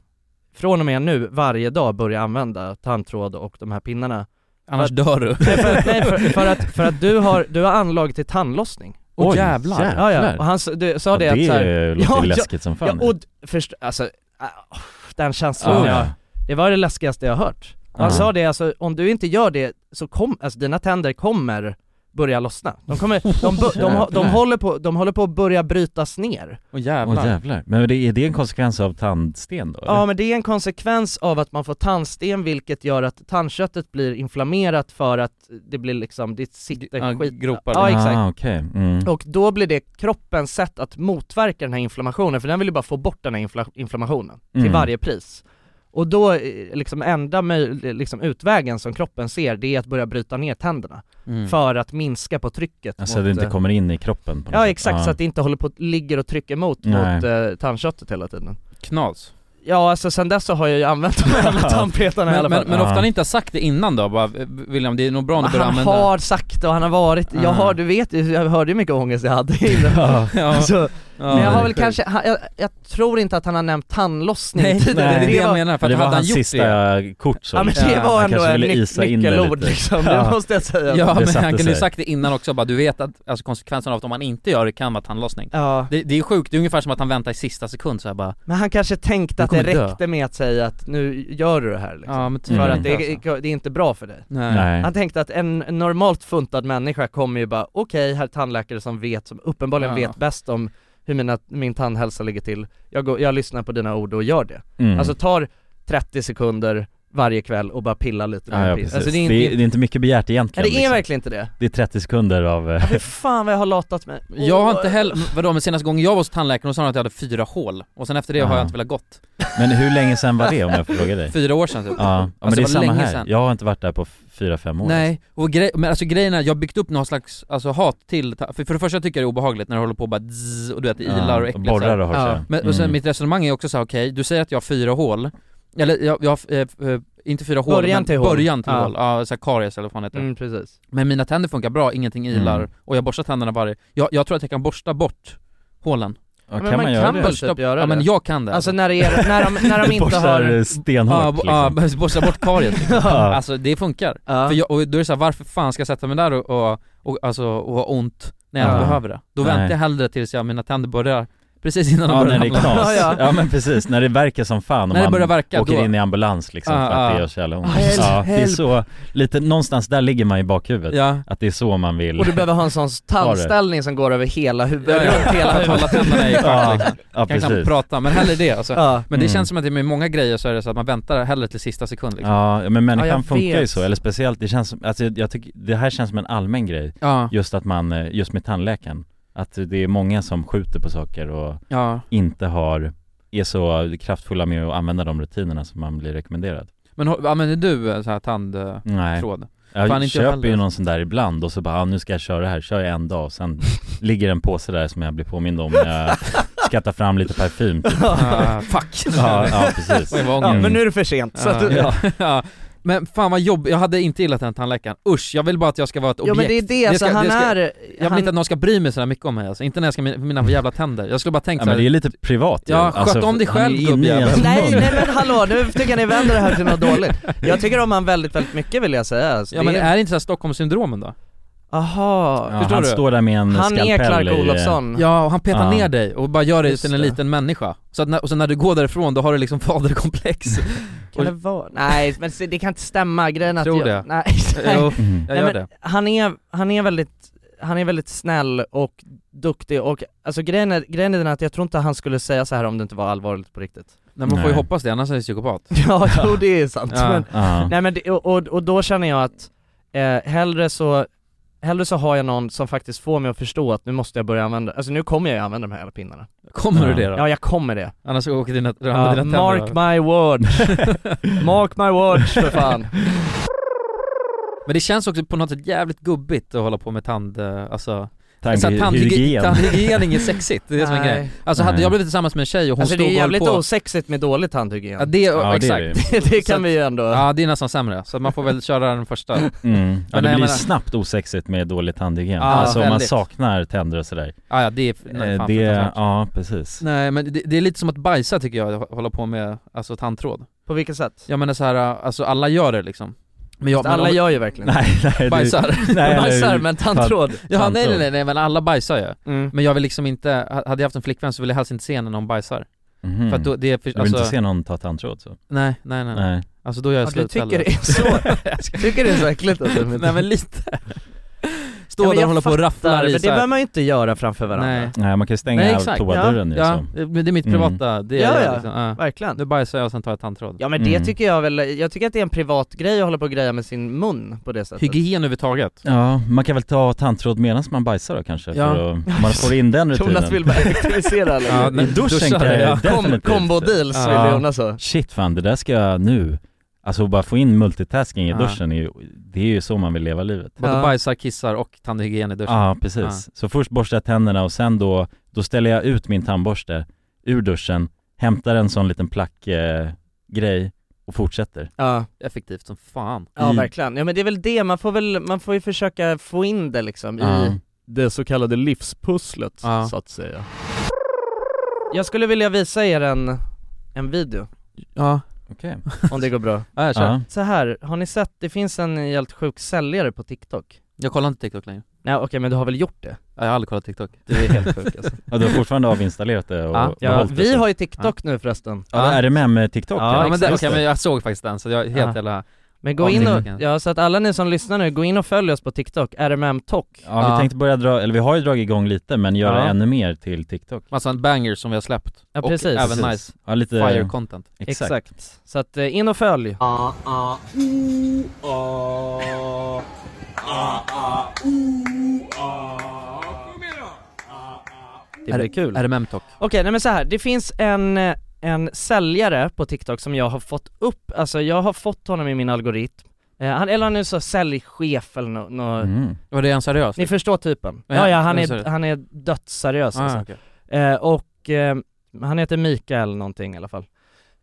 Speaker 1: från och med nu varje dag börja använda tandtråd och de här pinnarna.
Speaker 4: Annars
Speaker 1: För att-
Speaker 4: dör du.
Speaker 1: Nej, för, nej för, för att, för att du har, du har anlag till tandlossning.
Speaker 4: Åh, Oj, jävlar.
Speaker 1: Ja, ja.
Speaker 4: jävlar.
Speaker 1: Och han s- du, sa
Speaker 4: Ja,
Speaker 1: det,
Speaker 4: det
Speaker 1: att så
Speaker 4: är-
Speaker 1: här,
Speaker 4: låter läskigt som fan.
Speaker 1: Ja, och d- först, alltså, ah, den känslan,
Speaker 4: Ja.
Speaker 1: jag, det var det läskigaste jag har hört. Och han
Speaker 4: Ja.
Speaker 1: sa det alltså, om du inte gör det så kom, alltså dina tänder kommer börja lossna. De kommer, de, bu- de, de, de,
Speaker 3: Jävlar.
Speaker 1: håller på, de håller på att börja brytas ner.
Speaker 4: Åh
Speaker 3: Åh jävlar. Men det, är det en konsekvens av tandsten då?
Speaker 1: Ja men det är en konsekvens av att man får tandsten vilket gör att tandköttet blir inflammerat för att det blir liksom, det sitter
Speaker 4: Ja,
Speaker 1: skit
Speaker 4: gropar.
Speaker 1: Ja exakt
Speaker 3: Ah, okej. Mm.
Speaker 1: Och då blir det kroppens sätt att motverka den här inflammationen, för den vill ju bara få bort den här infla- inflammationen till
Speaker 3: Mm.
Speaker 1: varje pris Och då, eh, liksom enda möj- liksom utvägen som kroppen ser, det är att börja bryta ner tänderna
Speaker 3: Mm.
Speaker 1: För att minska på trycket
Speaker 3: Alltså att det inte
Speaker 1: eh,
Speaker 3: kommer in i kroppen på något
Speaker 1: Ja
Speaker 3: sätt. Ah.
Speaker 1: exakt,
Speaker 3: Ja.
Speaker 1: så att det inte håller på, ligger och trycker emot
Speaker 3: Nej.
Speaker 1: mot eh, tandköttet hela tiden
Speaker 4: Knas.
Speaker 1: Ja alltså sen dess så har jag ju använt de här jävla tandpetarna i alla
Speaker 4: Men,
Speaker 1: fall
Speaker 4: men, men ofta han inte har sagt det innan då, bara "Eh, William det är nog bra om du börjar
Speaker 1: han
Speaker 4: använda Ah.
Speaker 1: har sagt och han har varit, jag har, du vet ju, jag hörde ju mycket ångest jag hade innan.
Speaker 4: Ja. Ja.
Speaker 1: Alltså,
Speaker 4: Ja,
Speaker 1: Men jag har
Speaker 4: det är
Speaker 1: väl
Speaker 4: sjukt.
Speaker 1: kanske, han, jag, jag tror inte att han har nämnt tandlossning tidigare. var-
Speaker 3: det var hans sista kort så.
Speaker 1: Ja men det var ändå en nyc- nyckelord liksom, det måste jag säga
Speaker 4: Ja men han kunde ju sagt det innan också bara, du vet att alltså, konsekvensen av att om man inte gör det kan vara tandlossning
Speaker 1: Ja.
Speaker 4: det, det är sjukt, det är ungefär som att han väntar i sista sekund så här bara
Speaker 1: Men han kanske tänkte att det
Speaker 4: kommer dö.
Speaker 1: räckte med att säga att nu gör du det här liksom.
Speaker 4: Ja, men typ.
Speaker 1: För
Speaker 4: Mm.
Speaker 1: att det, är- det är inte bra för dig
Speaker 4: Nej. Nej.
Speaker 1: Han tänkte att en en normalt funtad människa kommer ju bara, okej, här är tandläkare som vet, som uppenbarligen
Speaker 4: Ja.
Speaker 1: vet bäst om hur mina, min tandhälsa ligger till, jag, går, jag lyssnar på dina ord och gör det
Speaker 4: Mm.
Speaker 1: Alltså tar, 30 sekunder varje kväll och bara pilla lite med
Speaker 3: Ja, ja,
Speaker 1: pris.
Speaker 3: precis.
Speaker 1: Alltså,
Speaker 3: det, är, det, är, inte mycket begärt egentligen
Speaker 1: Nej, det är
Speaker 3: liksom.
Speaker 1: verkligen inte det.
Speaker 3: Det är 30 sekunder av... eh,
Speaker 1: Fy fan vad jag har latat mig.
Speaker 2: Jag har inte heller, vadå men senaste gången jag var hos tandläkaren och sa de att jag hade fyra hål och sen efter det har
Speaker 3: Ja.
Speaker 2: jag inte velat gått.
Speaker 3: Men hur länge sedan var det om jag får fråga dig?
Speaker 2: Fyra år sedan typ.
Speaker 3: Ja, ja men
Speaker 2: Alltså,
Speaker 3: det är
Speaker 2: var
Speaker 3: samma
Speaker 2: länge
Speaker 3: här.
Speaker 2: sedan.
Speaker 3: Jag har inte varit där på f- fyra fem år
Speaker 2: Nej, och grej, men alltså grejen är, jag har byggt upp någon slags, alltså hat till, ta- för, för det första tycker jag det är obehagligt när det håller på och bara dzz, och du vet det
Speaker 3: Ja,
Speaker 2: ilar och
Speaker 3: de
Speaker 2: äckligt
Speaker 3: borrar
Speaker 2: så här.
Speaker 3: och har så här.
Speaker 2: Men, och sen
Speaker 3: Mm.
Speaker 2: mitt resonemang är också så här: okej, du säger att jag har fyra hål, eller jag, jag har, eh, eh, inte fyra hål
Speaker 1: Början
Speaker 2: men
Speaker 1: till hål.
Speaker 2: början till
Speaker 1: Ja.
Speaker 2: hål, ja såhär karies eller vad fan heter det.
Speaker 1: Mm, precis.
Speaker 2: Men mina tänder funkar bra, ingenting ilar,
Speaker 1: Mm.
Speaker 2: och jag borstar tänderna varje, jag, jag tror att jag kan borsta bort hålen
Speaker 3: Ja, kan man göra det?
Speaker 2: väl
Speaker 1: Typ göra
Speaker 2: ja, men
Speaker 1: det.
Speaker 2: jag kan det
Speaker 1: Alltså, när det är- när de- när de inte Borstar
Speaker 3: eh,
Speaker 1: har- stenhårt,
Speaker 2: Ja, bo-
Speaker 3: liksom.
Speaker 2: ja, borsta bort karies liksom.
Speaker 1: Ja.
Speaker 2: Alltså det funkar,
Speaker 1: Ja.
Speaker 2: för jag, och då är det så här, varför fan ska jag sätta mig där och, och, och, alltså, och ha ont när jag
Speaker 3: Ja.
Speaker 2: inte behöver det? Då
Speaker 3: Nej.
Speaker 2: väntar jag hellre tills jag, mina tänder börjar, precis innan de
Speaker 3: Ja,
Speaker 2: börjar
Speaker 3: när det är
Speaker 2: ramla.
Speaker 3: knas. ja, men precis, när det verkar som fan och
Speaker 2: När det
Speaker 3: man
Speaker 2: börjar verka,
Speaker 3: åker
Speaker 2: då-
Speaker 3: in i ambulans liksom
Speaker 2: Ja,
Speaker 3: för att
Speaker 2: ja.
Speaker 3: det gör så jävla ont.
Speaker 2: Help,
Speaker 3: ja, det är
Speaker 2: help.
Speaker 3: så, lite, någonstans där ligger man i bakhuvudet.
Speaker 2: Ja.
Speaker 3: Att det är så man vill
Speaker 1: Och du behöver ha en sån
Speaker 3: tandställning
Speaker 1: tandställning som går över hela huvudet,
Speaker 2: Ja, ja.
Speaker 1: runt hela
Speaker 2: För att hålla tänderna i schack,
Speaker 3: Ja.
Speaker 2: liksom.
Speaker 3: Ja,
Speaker 2: Kan knappt
Speaker 3: precis.
Speaker 2: prata, men hellre det alltså.
Speaker 3: Ja.
Speaker 2: Men det
Speaker 3: Mm.
Speaker 2: känns som att det med många grejer så är det så att man väntar hellre till sista sekund liksom.
Speaker 3: Ja, men människan
Speaker 2: Ja, jag
Speaker 3: funkar ju
Speaker 2: vet.
Speaker 3: så, eller speciellt, det känns som, alltså jag, jag tycker, det här känns som en allmän grej
Speaker 2: Ja.
Speaker 3: Just att man, eh, just med tandläkaren Att det är många som skjuter på saker och
Speaker 2: Ja.
Speaker 3: inte har, är så kraftfulla med att använda de rutinerna som man blir rekommenderad
Speaker 2: Men har- använder du eh, så här tandtråd?
Speaker 3: Nej Jag
Speaker 2: Fan, inte jag
Speaker 3: köper
Speaker 2: heller.
Speaker 3: ju någon sån där ibland och så bara, ah, nu ska jag köra det här, kör jag en dag och sen ligger en påse där som jag blir påmind om när jag ska ta fram lite parfym typ.
Speaker 2: Ah, fuck!
Speaker 3: Ja, ja precis
Speaker 2: Oj, vad ångest.
Speaker 3: Mm.
Speaker 1: så att du-
Speaker 2: ja. ja. Men fan vad jobb, jag hade inte gillat den tandläkaren. Usch, jag vill bara att jag ska vara ett
Speaker 1: Ja, men
Speaker 2: objekt.
Speaker 1: det är det,
Speaker 2: Jag
Speaker 1: så han är-
Speaker 2: Jag vill
Speaker 1: han-
Speaker 2: inte att någon ska bry mig sådär mycket om mig alltså. inte när jag ska med mina jävla tänder. Jag skulle bara tänkt
Speaker 3: Ja, men
Speaker 2: såhär-
Speaker 3: det är lite privat ju. Alltså,
Speaker 2: Ja, sköt om dig
Speaker 3: han är
Speaker 2: själv,
Speaker 3: inne i
Speaker 2: gubbjävel.
Speaker 3: ens
Speaker 1: Nej,
Speaker 3: mun.
Speaker 1: nej men hallå, nu tycker jag ni vänder det här till något dåligt. Jag tycker om han väldigt, väldigt mycket vill jag säga. Alltså,
Speaker 2: Ja men är det inte såhär Stockholmssyndromen då?
Speaker 1: Aha.
Speaker 3: Ja, han står där med en
Speaker 1: Han är
Speaker 3: skalpell
Speaker 1: Clark
Speaker 3: i- eh,
Speaker 1: Olofsson.
Speaker 2: eh, Ja, och han petar
Speaker 3: Ja.
Speaker 2: ner dig och bara gör dig till en
Speaker 1: det.
Speaker 2: liten människa. Så att när, och sen när du går därifrån, då har du liksom faderkomplex.
Speaker 1: Kan det vara? Nej men se, det kan inte stämma, grejen är att
Speaker 2: Tror
Speaker 1: jag,
Speaker 2: det.
Speaker 1: Nej,
Speaker 2: Jo,
Speaker 1: nej.
Speaker 2: jag
Speaker 3: Mhm.
Speaker 1: Nej,
Speaker 2: gör
Speaker 1: men
Speaker 2: det.
Speaker 1: Han är, han är väldigt, han är väldigt snäll och duktig och alltså grejen är, grejen är den att jag tror inte han skulle säga så här om det inte var allvarligt på riktigt
Speaker 2: Nej, man får ju
Speaker 1: Nej.
Speaker 2: hoppas det, annars är det psykopat.
Speaker 1: Ja, jo det är sant.
Speaker 2: Ja.
Speaker 1: Men,
Speaker 2: Ja.
Speaker 1: Nej, men det, och, och- och då känner jag att eh, hellre, så, hellre så har jag någon som faktiskt får mig att förstå att nu måste jag börja använda, alltså nu kommer jag ju använda de här jävla pinnarna.
Speaker 2: Kommer du det då?
Speaker 1: Ja jag kommer det.
Speaker 2: Annars åker dina, ramlar
Speaker 1: Ja,
Speaker 2: dina tänder
Speaker 1: mark
Speaker 2: av.
Speaker 1: my words. mark my words för fan.
Speaker 2: Men det känns också på något sätt jävligt gubbigt att hålla på med tand, eh, alltså
Speaker 3: Tandhy-
Speaker 2: Så här, tandhygi-
Speaker 3: hygien.
Speaker 2: Tandhygien är inget sexigt, det är det som är
Speaker 1: Nej.
Speaker 2: grejen Alltså hade
Speaker 1: Nej.
Speaker 2: jag blivit tillsammans med en tjej och hon
Speaker 1: Alltså
Speaker 2: stod
Speaker 1: det är
Speaker 2: och höll
Speaker 1: jävligt
Speaker 2: på
Speaker 1: osexigt med dålig tandhygien.
Speaker 2: Ja det, ja, exakt
Speaker 1: det,
Speaker 2: Så
Speaker 1: kan
Speaker 2: att-
Speaker 1: vi ju ändå.
Speaker 2: Ja det är nästan sämre, så att man får väl köra den första
Speaker 3: Mm. Ja,
Speaker 2: Men
Speaker 3: det
Speaker 2: jag
Speaker 3: blir
Speaker 2: menar-
Speaker 3: snabbt osexigt med dålig tandhygien.
Speaker 2: Ja,
Speaker 3: alltså om man
Speaker 2: väldigt.
Speaker 3: saknar tänder och sådär.
Speaker 2: Ja, ja, det är- nej,
Speaker 3: Eh,
Speaker 2: fan,
Speaker 3: det,
Speaker 2: fruktansvärt.
Speaker 3: Ja, precis.
Speaker 2: Nej men det, det är lite som att bajsa tycker jag, att hålla på med, alltså tandtråd
Speaker 1: På vilket sätt?
Speaker 2: Jag menar så här, alltså alla gör det liksom men
Speaker 1: Fast alla gör ju verkligen det.
Speaker 3: Nej, nej, det-
Speaker 2: Bajsar?
Speaker 3: nej, eller-
Speaker 2: bajsar men tandtråd?
Speaker 3: Tan-
Speaker 2: Ja nej nej
Speaker 3: tandtråd.
Speaker 2: nej, nej men alla bajsar ju
Speaker 1: Mm.
Speaker 2: Men jag vill liksom inte, hade jag haft en flickvän så vill jag helst inte se när någon bajsar
Speaker 3: Mhm.
Speaker 2: För att då, det är för, alltså-
Speaker 3: Jag vill inte se någon ta tandtråd så.
Speaker 2: Nej, nej, nej, nej. Alltså då gör jag
Speaker 1: Ja, du
Speaker 2: slut
Speaker 1: tycker
Speaker 2: hellre.
Speaker 1: det är så-
Speaker 2: Jag ska-
Speaker 1: tycker det är så äckligt att du-
Speaker 2: Nej men lite Står
Speaker 1: Ja, men
Speaker 2: där
Speaker 1: jag
Speaker 2: och håller på och
Speaker 1: fattar,
Speaker 2: rafflar i
Speaker 1: men det
Speaker 2: så här-
Speaker 1: behöver man ju inte göra framför varandra.
Speaker 2: Nej.
Speaker 3: Nej, man kan ju stänga liksom.
Speaker 2: Nej,
Speaker 3: av
Speaker 2: exakt.
Speaker 3: toadörren ju,
Speaker 2: ja,
Speaker 3: så.
Speaker 2: ja, men det är mitt
Speaker 3: Mm.
Speaker 2: privata, det
Speaker 1: Ja,
Speaker 2: är
Speaker 1: ja,
Speaker 2: jag liksom, ja.
Speaker 1: verkligen.
Speaker 2: Nu bajsar jag och sen tar jag tandtråd
Speaker 1: Ja men
Speaker 3: Mm.
Speaker 1: det tycker jag väl, jag tycker att det är en privat grej att hålla på och greja med sin mun på det sättet
Speaker 2: Hygien överhuvudtaget
Speaker 3: Ja, man kan väl ta tandtråd medan man bajsar då kanske?
Speaker 1: Ja.
Speaker 3: För att, om man får in den rutinen.
Speaker 1: Jonas vill bara effektivisera alla
Speaker 3: Ja,
Speaker 1: grejer.
Speaker 3: I duschen kan jag definitivt.
Speaker 1: Combo deals vill Jonas ha
Speaker 3: Shit fan, det där ska jag nu. Alltså bara få in multitasking i
Speaker 2: Ja.
Speaker 3: duschen, är ju, det är ju så man vill leva livet.
Speaker 2: Både bajsar, kissar och tandhygien i duschen
Speaker 3: Ja, precis. Så först borstar jag tänderna och sen då, då ställer jag ut min tandborste ur duschen, hämtar en sån liten plack eh, grej och fortsätter.
Speaker 1: Ja.
Speaker 2: Effektivt som fan
Speaker 3: Mm.
Speaker 1: Ja verkligen, ja men det är väl det, man får väl, man får ju försöka få in det liksom
Speaker 3: Ja.
Speaker 1: i det så kallade livspusslet
Speaker 2: Ja.
Speaker 1: så att säga Jag skulle vilja visa er en, en video
Speaker 2: Ja
Speaker 3: Okej
Speaker 1: Om det går bra
Speaker 2: Ja, kör. Ja.
Speaker 1: Så här, har ni sett, det finns en helt sjuk säljare på TikTok
Speaker 2: Jag kollar inte TikTok längre
Speaker 1: Nej okej men du har väl gjort det?
Speaker 2: Ja, jag har aldrig kollat TikTok
Speaker 1: Du är helt sjuk alltså
Speaker 3: Ja, du har fortfarande avinstallerat det och
Speaker 2: Ja.
Speaker 3: behållit
Speaker 1: Ja,
Speaker 3: det
Speaker 1: vi
Speaker 3: så.
Speaker 1: har ju TikTok nu förresten
Speaker 3: Ja, det är det med med eh, TikTok?
Speaker 2: Ja, men det,
Speaker 3: exakt.
Speaker 2: okej men jag såg faktiskt den så jag är helt
Speaker 1: Ja.
Speaker 2: jävla
Speaker 1: Men gå
Speaker 2: Av
Speaker 1: in och,
Speaker 2: TikTok.
Speaker 1: ja så att alla ni som lyssnar nu, gå in och följ oss på TikTok, RMMTok
Speaker 3: Ja, vi tänkte börja dra, eller vi har ju dragit igång lite men göra
Speaker 1: Ja.
Speaker 3: ännu mer till TikTok
Speaker 2: Massa bangers som vi har släppt
Speaker 1: Ja,
Speaker 2: och
Speaker 1: precis.
Speaker 2: även
Speaker 1: Precis.
Speaker 2: nice
Speaker 3: Ja, lite-
Speaker 2: fire content
Speaker 1: Exakt. Så att eh, in och följ Det blir kul
Speaker 2: RMM-talk
Speaker 1: Okej, nej men så här. det finns en, eh, en säljare på TikTok som jag har fått upp, alltså jag har fått honom i min algoritm Eh, han, eller han är så säljchef eller något nå,
Speaker 2: Mm. Och det är han seriös?
Speaker 1: Ni förstår typen?
Speaker 2: Ja,
Speaker 1: Ja, ja han,
Speaker 2: men
Speaker 1: är,
Speaker 2: seriös.
Speaker 1: han är dödsseriös
Speaker 2: Ah,
Speaker 1: alltså.
Speaker 2: okej.
Speaker 1: eh, Och eh, han heter Mikael någonting i alla fall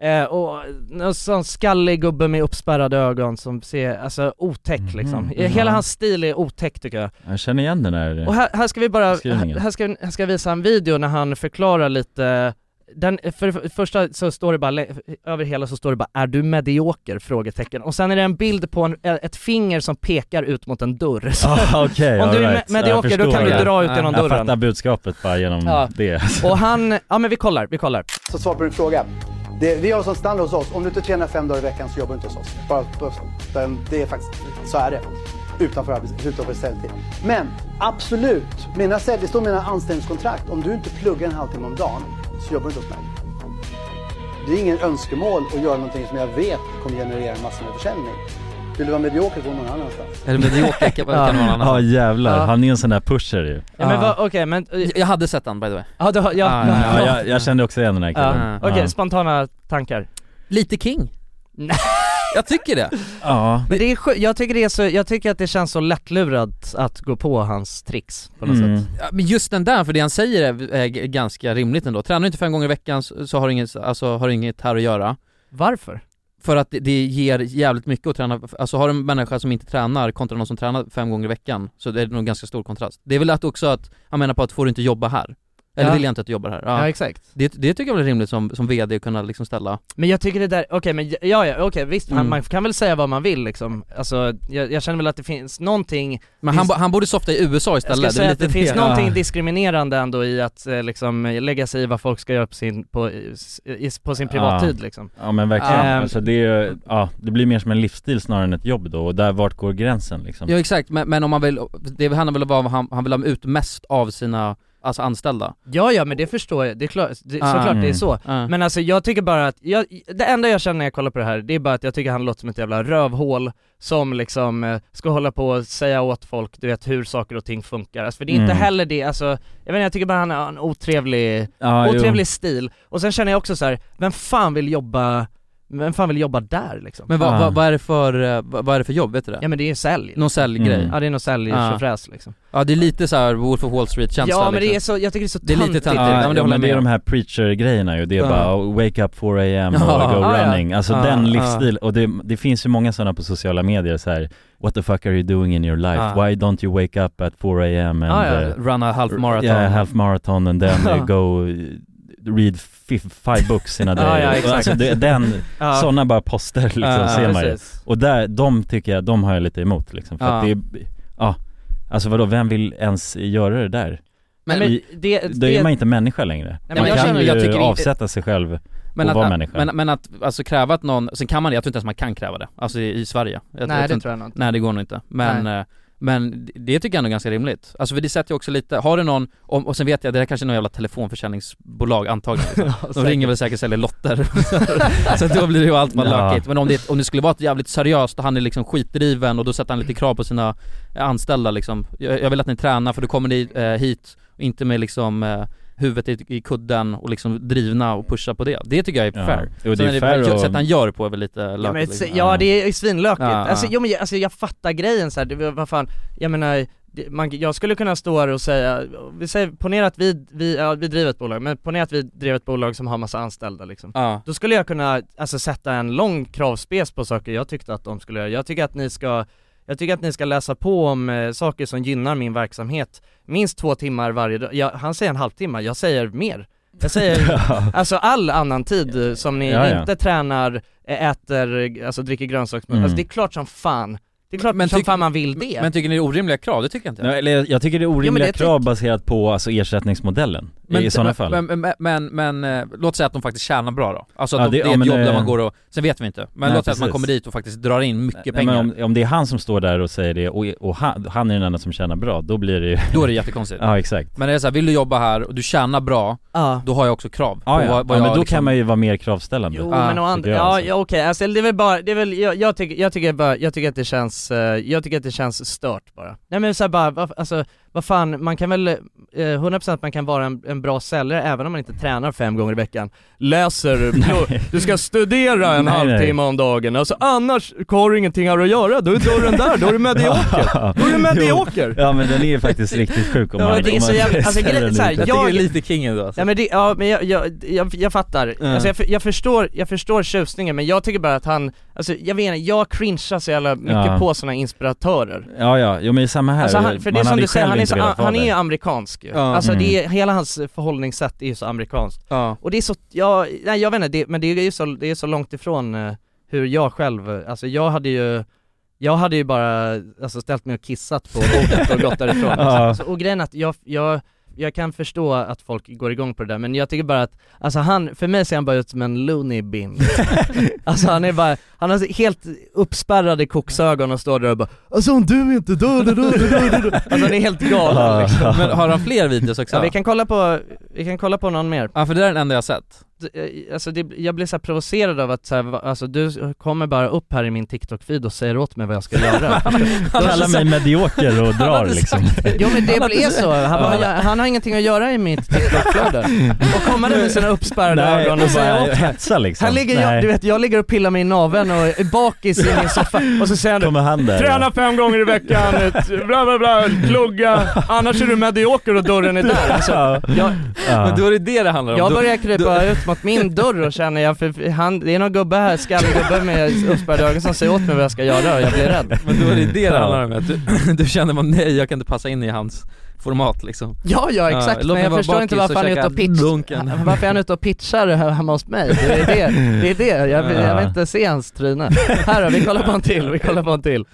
Speaker 1: eh, Och en sån skallig gubbe med uppspärrade ögon som ser, alltså otäck liksom
Speaker 3: Mhm.
Speaker 1: Hela
Speaker 3: Ja.
Speaker 1: hans stil är otäck tycker jag
Speaker 3: Jag känner igen den här,
Speaker 1: och här, här ska vi bara,
Speaker 3: Beskrivningen.
Speaker 1: här ska, här ska jag visa en video när han förklarar lite den, för det första så står det bara, lä- över hela så står det bara 'Är du medioker?' frågetecken och sen är det en bild på en, eh, ett finger som pekar ut mot en dörr. Så-
Speaker 3: Ah, okej,
Speaker 1: Om
Speaker 3: all
Speaker 1: du är
Speaker 3: right.
Speaker 1: me-
Speaker 3: Jag
Speaker 1: medioker då
Speaker 3: förstår
Speaker 1: kan du
Speaker 3: det.
Speaker 1: dra ut genom
Speaker 3: Jag fattar
Speaker 1: dörren.
Speaker 3: budskapet bara genom
Speaker 1: Ja.
Speaker 3: det
Speaker 1: Och han, ja men vi kollar, vi kollar.
Speaker 9: Så svar på din fråga. Det, vi har som standard hos oss, om du inte tränar fem dagar i veckan så jobbar du inte hos oss. Bara, bara, utan det är faktiskt, så är det. Utanför, arbets- utanför säljtid. Men absolut, mina sälj, det står i mina anställningskontrakt. Om du inte pluggar en halvtimme om dagen så jobbar du inte hos mig. Det är ingen önskemål att göra någonting som jag vet kommer generera massor med försäljning. Vill du vara medioker så gå någon annanstans.
Speaker 2: Eller medioker kan kan det vara någon annan
Speaker 3: Ja jävlar,
Speaker 2: Ja.
Speaker 3: han är en sån där pusher ju
Speaker 1: Ja, men vad, okej men... eh,
Speaker 2: Jag hade sett han by the way
Speaker 1: Ja, du har- ja.
Speaker 2: Ah,
Speaker 3: Ja, jag, jag kände också igen den här
Speaker 1: Ja.
Speaker 3: killen
Speaker 1: Okej, spontana tankar.
Speaker 2: Lite king Jag tycker det
Speaker 3: Ja
Speaker 1: Men det är skö- jag tycker det är så, jag tycker att det känns så lättlurat att gå på hans tricks på något
Speaker 3: mm.
Speaker 1: sätt.
Speaker 2: Ja, Men just den där, för det han säger är, är g- ganska rimligt ändå. Tränar du inte fem gånger i veckan så så har du inget, alltså, har du inget här att göra.
Speaker 1: Varför?
Speaker 2: För att det, det ger jävligt mycket att träna, alltså har du en människa som inte tränar kontra någon som tränar fem gånger i veckan så det är nog ganska stor kontrast. Det är väl att också att, han menar på att får du inte jobba här? Eller
Speaker 1: Ja.
Speaker 2: vill jag inte att du jobbar här?
Speaker 1: Ja, exakt.
Speaker 2: Det, det tycker jag väl är rimligt som, som VD att kunna liksom ställa
Speaker 1: Men jag tycker det där, okej men j- ja, ja okej visst, man-
Speaker 2: Mm.
Speaker 1: man kan väl säga vad man vill liksom Alltså jag, jag känner väl att det finns någonting
Speaker 2: Men han, bo- han borde softa i USA
Speaker 1: jag
Speaker 2: istället,
Speaker 1: skulle säga
Speaker 2: väl
Speaker 1: att det
Speaker 2: lite Ah.
Speaker 1: finns
Speaker 2: Ja.
Speaker 1: någonting diskriminerande ändå i att eh, liksom eh, lägga sig i vad folk ska göra på sin, på, i- i- på sin privattid
Speaker 3: ja.
Speaker 1: liksom
Speaker 3: Ja men verkligen,
Speaker 1: Ehm,
Speaker 3: alltså det är ju, ja det blir mer som en livsstil snarare än ett jobb då och där, vart går gränsen liksom?
Speaker 2: Ja exakt, men, men om man vill, det handlar väl om vad han, han vill ha ut mest av sina, alltså anställda?
Speaker 1: Ja ja men det förstår jag, det är klart, det,
Speaker 2: Ah.
Speaker 1: såklart det är
Speaker 2: Mm.
Speaker 1: så.
Speaker 2: Ah.
Speaker 1: Men alltså jag tycker bara att, jag, det enda jag känner när jag kollar på det här, det är bara att jag tycker han låter som ett jävla rövhål som liksom eh, ska hålla på och säga åt folk, du vet hur saker och ting funkar. Alltså, för det är inte
Speaker 3: Mm.
Speaker 1: heller det, alltså, jag vet inte, jag tycker bara han har en otrevlig,
Speaker 3: Ja, jo.
Speaker 1: otrevlig stil. Och sen känner jag också så här, vem fan vill jobba, vem fan vill jobba där liksom?
Speaker 2: Men vad, vad, vad är det för, eh, vad, vad är det för jobb, vet du det?
Speaker 1: Ja men det är sälj.
Speaker 2: Någon säljgrej?
Speaker 1: Mm. Ja, det är någon sälj- tjofräs, liksom
Speaker 2: Ja det är lite såhär Wolf of Wall Street-känsla
Speaker 1: Ja men
Speaker 2: liksom.
Speaker 1: det är så, jag tycker det är så
Speaker 2: Det är lite
Speaker 1: töntigt.
Speaker 2: töntigt.
Speaker 3: Ja,
Speaker 2: Ja, men det
Speaker 3: men
Speaker 2: håller jag
Speaker 3: det är
Speaker 2: med
Speaker 3: de här preacher-grejerna ju, det är
Speaker 2: Ja.
Speaker 3: bara oh, wake up 4 am och
Speaker 2: Ja.
Speaker 3: go
Speaker 2: Ja, ja.
Speaker 3: running, alltså
Speaker 2: Ja,
Speaker 3: den
Speaker 2: ja.
Speaker 3: livsstil, och det, det finns ju många sådana på sociala medier så här. What the fuck are you doing in your life?
Speaker 2: Ja.
Speaker 3: Why don't you wake up at 4 am and
Speaker 2: Ja, ja.
Speaker 3: eh,
Speaker 2: Run a half marathon.
Speaker 3: yeah, half marathon and then eh, go eh, read fi- five books in a day
Speaker 2: Ja, ja, exakt.
Speaker 3: alltså, det, den,
Speaker 2: Ja.
Speaker 3: sådana bara poster liksom
Speaker 2: Ja,
Speaker 3: ser man ju
Speaker 2: precis.
Speaker 3: Och där, de tycker jag, de har jag lite emot liksom, för att det
Speaker 2: Ja.
Speaker 3: är, ja Alltså vadå, vem vill ens göra det där?
Speaker 2: Men-
Speaker 3: I-
Speaker 2: men det-
Speaker 3: då är
Speaker 2: det-
Speaker 3: man inte människa längre.
Speaker 2: men
Speaker 3: man
Speaker 2: jag
Speaker 3: kan
Speaker 2: känner-
Speaker 3: ju
Speaker 2: jag tycker inte-
Speaker 3: avsätta sig själv
Speaker 2: Men
Speaker 3: och
Speaker 2: att,
Speaker 3: vara människa.
Speaker 2: Men, men att alltså kräva att någon, sen kan man det, jag tror inte ens man kan kräva det, alltså i, i Sverige
Speaker 1: Nej, det
Speaker 2: inte-
Speaker 1: tror jag nog inte.
Speaker 2: Nej det går nog inte, men, eh, men det tycker jag ändå är ganska rimligt Alltså för det sätter ju också lite, har du någon, om, och sen vet jag, det här kanske är någon jävla telefonförsäljningsbolag antagligen liksom. De
Speaker 1: säkert.
Speaker 2: ringer väl säkert och säljer lotter Så då blir det ju allt bara
Speaker 1: Ja.
Speaker 2: lökigt, men om det, om det skulle vara ett jävligt seriöst och han är liksom skitdriven och då sätter han lite krav på sina anställda liksom Jag, jag vill att ni tränar för då kommer ni eh, hit, och inte med liksom eh, huvudet i, i kudden och liksom drivna och pusha på det. Det tycker jag är
Speaker 3: Ja.
Speaker 2: fair.
Speaker 3: Jo, det
Speaker 2: Sen
Speaker 3: är fair
Speaker 2: väl-
Speaker 3: och-
Speaker 2: Sättet han gör på är väl lite lökigt
Speaker 1: Ja, men,
Speaker 2: liksom.
Speaker 1: se- ja det är svinlökigt,
Speaker 2: Ja, ja.
Speaker 1: alltså, jo, men, jag- alltså jag fattar grejen så här, det, vad fan, jag menar, det, man, jag skulle kunna stå här och säga, vi säger, ponera att vi, vi, ja, vi driver ett bolag, men ponera att vi driver ett bolag som har massa anställda liksom.
Speaker 2: Ja.
Speaker 1: Då skulle jag kunna, alltså sätta en lång kravspes på saker jag tyckte att de skulle göra, jag tycker att ni ska jag tycker att ni ska läsa på om eh, saker som gynnar min verksamhet minst två timmar varje dag. Jag, han säger en halvtimme, jag säger mer. Jag säger, alltså all annan tid eh, som ni
Speaker 3: Ja, ja.
Speaker 1: inte tränar, ä- äter, alltså dricker grönsaksmulor.
Speaker 3: Mm.
Speaker 1: Alltså det är klart som fan. Det är klart
Speaker 2: Men
Speaker 1: som
Speaker 2: tyck-
Speaker 1: fan man vill det.
Speaker 2: Men tycker ni det är orimliga krav? Det tycker jag inte.
Speaker 3: Nej, eller jag tycker det är
Speaker 1: Jo, men
Speaker 3: orimliga
Speaker 1: det tyck-
Speaker 3: krav baserat på alltså, ersättningsmodellen i sådana fall.
Speaker 2: Men, men, men, men eh, låt säga att de faktiskt tjänar bra då. Alltså att
Speaker 3: Ja,
Speaker 2: de,
Speaker 3: det-
Speaker 2: det är
Speaker 3: ja,
Speaker 2: ett
Speaker 3: men,
Speaker 2: jobb där
Speaker 3: eh,
Speaker 2: man går och, sen vet vi inte. Men
Speaker 3: nej,
Speaker 2: låt säga att man
Speaker 3: precis.
Speaker 2: kommer dit och faktiskt drar in mycket
Speaker 3: Nej,
Speaker 2: pengar.
Speaker 3: Men om, om det är han som står där och säger det och, och han, han är den enda som tjänar bra, då blir det ju...
Speaker 2: Då är det jättekonstigt.
Speaker 3: ja exakt.
Speaker 2: Men det är så här, vill du jobba här och du tjänar bra,
Speaker 1: Ja.
Speaker 2: då har jag också krav
Speaker 3: Ja,
Speaker 2: på
Speaker 3: ja.
Speaker 2: vad, vad
Speaker 3: ja men
Speaker 2: jag
Speaker 3: då
Speaker 2: liksom...
Speaker 3: kan man ju vara mer kravställande.
Speaker 1: Jo men å andra,
Speaker 3: tycker jag,
Speaker 1: ja,
Speaker 3: alltså.
Speaker 1: ja okej, alltså det är väl bara, det är väl, jag, jag tycker, jag tycker bara, jag tycker att det känns, eh, jag tycker att det känns stört bara. Nej men såhär bara, vad- alltså vad fan, man kan väl, eh, 100% man kan vara en, en bra säljare även om man inte tränar fem gånger i veckan. Läser, du, du ska studera en
Speaker 3: Nej, nej.
Speaker 1: halvtimme om dagen, alltså annars har du ingenting här att göra, då är dörren där, då är du medioker. Då är du medioker!
Speaker 3: Ja men den är ju faktiskt riktigt sjuk om
Speaker 1: Ja,
Speaker 3: man...
Speaker 1: det är
Speaker 3: om
Speaker 1: så
Speaker 3: man
Speaker 1: jävla- alltså,
Speaker 3: ställer
Speaker 1: grejen är
Speaker 3: den
Speaker 1: så här,
Speaker 3: ut.
Speaker 1: jag- Jag tycker det är
Speaker 2: lite king ändå
Speaker 1: Ja men det, ja men jag, jag, jag, jag fattar.
Speaker 2: Mm.
Speaker 1: Alltså jag, för- jag förstår, jag förstår tjusningen men jag tycker bara att han, alltså jag vet inte, jag cringear så jävla mycket
Speaker 3: Ja.
Speaker 1: på sådana inspiratörer.
Speaker 3: Ja ja, jo men samma här.
Speaker 1: Alltså han, för det är
Speaker 3: Man
Speaker 1: som
Speaker 3: hade
Speaker 1: du säger,
Speaker 3: själv
Speaker 1: han är,
Speaker 3: inte
Speaker 1: så,
Speaker 3: velat vara
Speaker 1: han är ju
Speaker 3: där.
Speaker 1: amerikansk ju.
Speaker 3: Ja.
Speaker 1: Alltså det är,
Speaker 3: Mm.
Speaker 1: hela hans förhållningssätt är ju så amerikanskt.
Speaker 2: Ja.
Speaker 1: Och det är så, ja, nej jag vet inte, det, men det är ju så, det är så långt ifrån eh, hur jag själv, eh, alltså jag hade ju jag hade ju bara alltså, ställt mig och kissat på bordet och gått därifrån.
Speaker 3: Ja.
Speaker 1: alltså, och grejen är att jag, jag, jag kan förstå att folk går igång på det där, men jag tycker bara att, alltså han, för mig ser han bara ut som en loony bin. alltså han är bara, han har så helt uppspärrade koksögon och står där och bara Alltså om du inte dör, dör, dör, dör, dör, dör. Alltså han är helt galen liksom.
Speaker 2: Men har han fler videos också?
Speaker 1: Ja, vi kan kolla på, vi kan kolla på någon mer.
Speaker 2: Ja för det där är den enda jag har sett.
Speaker 1: D- eh, Alltså det, jag blir så här provocerad av att så här, va- alltså du kommer bara upp här i min TikTok-feed och säger åt mig vad jag ska göra.
Speaker 3: Kallar mig medioker och drar liksom.
Speaker 1: Jo men det är så, han, bara,
Speaker 3: Ja.
Speaker 1: "Jag- han har ingenting att göra i mitt TikTok-flöde. Och kommer där med sina uppspärrade
Speaker 3: Nej,
Speaker 1: ögon och
Speaker 3: och
Speaker 1: säger
Speaker 3: bara
Speaker 1: åt mig.
Speaker 3: hetsa liksom.
Speaker 1: Här ligger
Speaker 3: Nej.
Speaker 1: jag, du vet jag ligger och pillar mig i naveln och är bakis i min soffa och så säger han
Speaker 3: Kommer han där?
Speaker 1: Träna fem gånger i veckan, ett- bla bla bla, plugga, annars är du medioker och dörren är där. Alltså, jag,
Speaker 3: Ja.
Speaker 2: Men då är det det det handlar om.
Speaker 1: jag
Speaker 2: Då-
Speaker 1: börjar krypa
Speaker 2: då-
Speaker 1: ut mot min dörr och känner jag, för han, det är någon gubbe här, skallgubbe med uppspärrade ögon som säger åt mig vad jag ska göra och jag blir rädd.
Speaker 2: Men då är det det det
Speaker 3: Ja.
Speaker 2: handlar om, att du, du känner man nej jag kan inte passa in i hans format liksom
Speaker 1: Ja, ja exakt,
Speaker 2: låt
Speaker 1: men
Speaker 2: mig
Speaker 1: jag
Speaker 2: vara
Speaker 1: förstår inte
Speaker 2: bakis
Speaker 1: varför han
Speaker 2: och
Speaker 1: är ute
Speaker 2: käka
Speaker 1: och pitchar,
Speaker 2: dunken.
Speaker 1: Han- varför är han ute och pitchar det här hemma hos mig? Det är det, det, är det. Jag, vill, jag vill inte se hans tryne. Här då, vi kollar på en till, vi kollar på en till.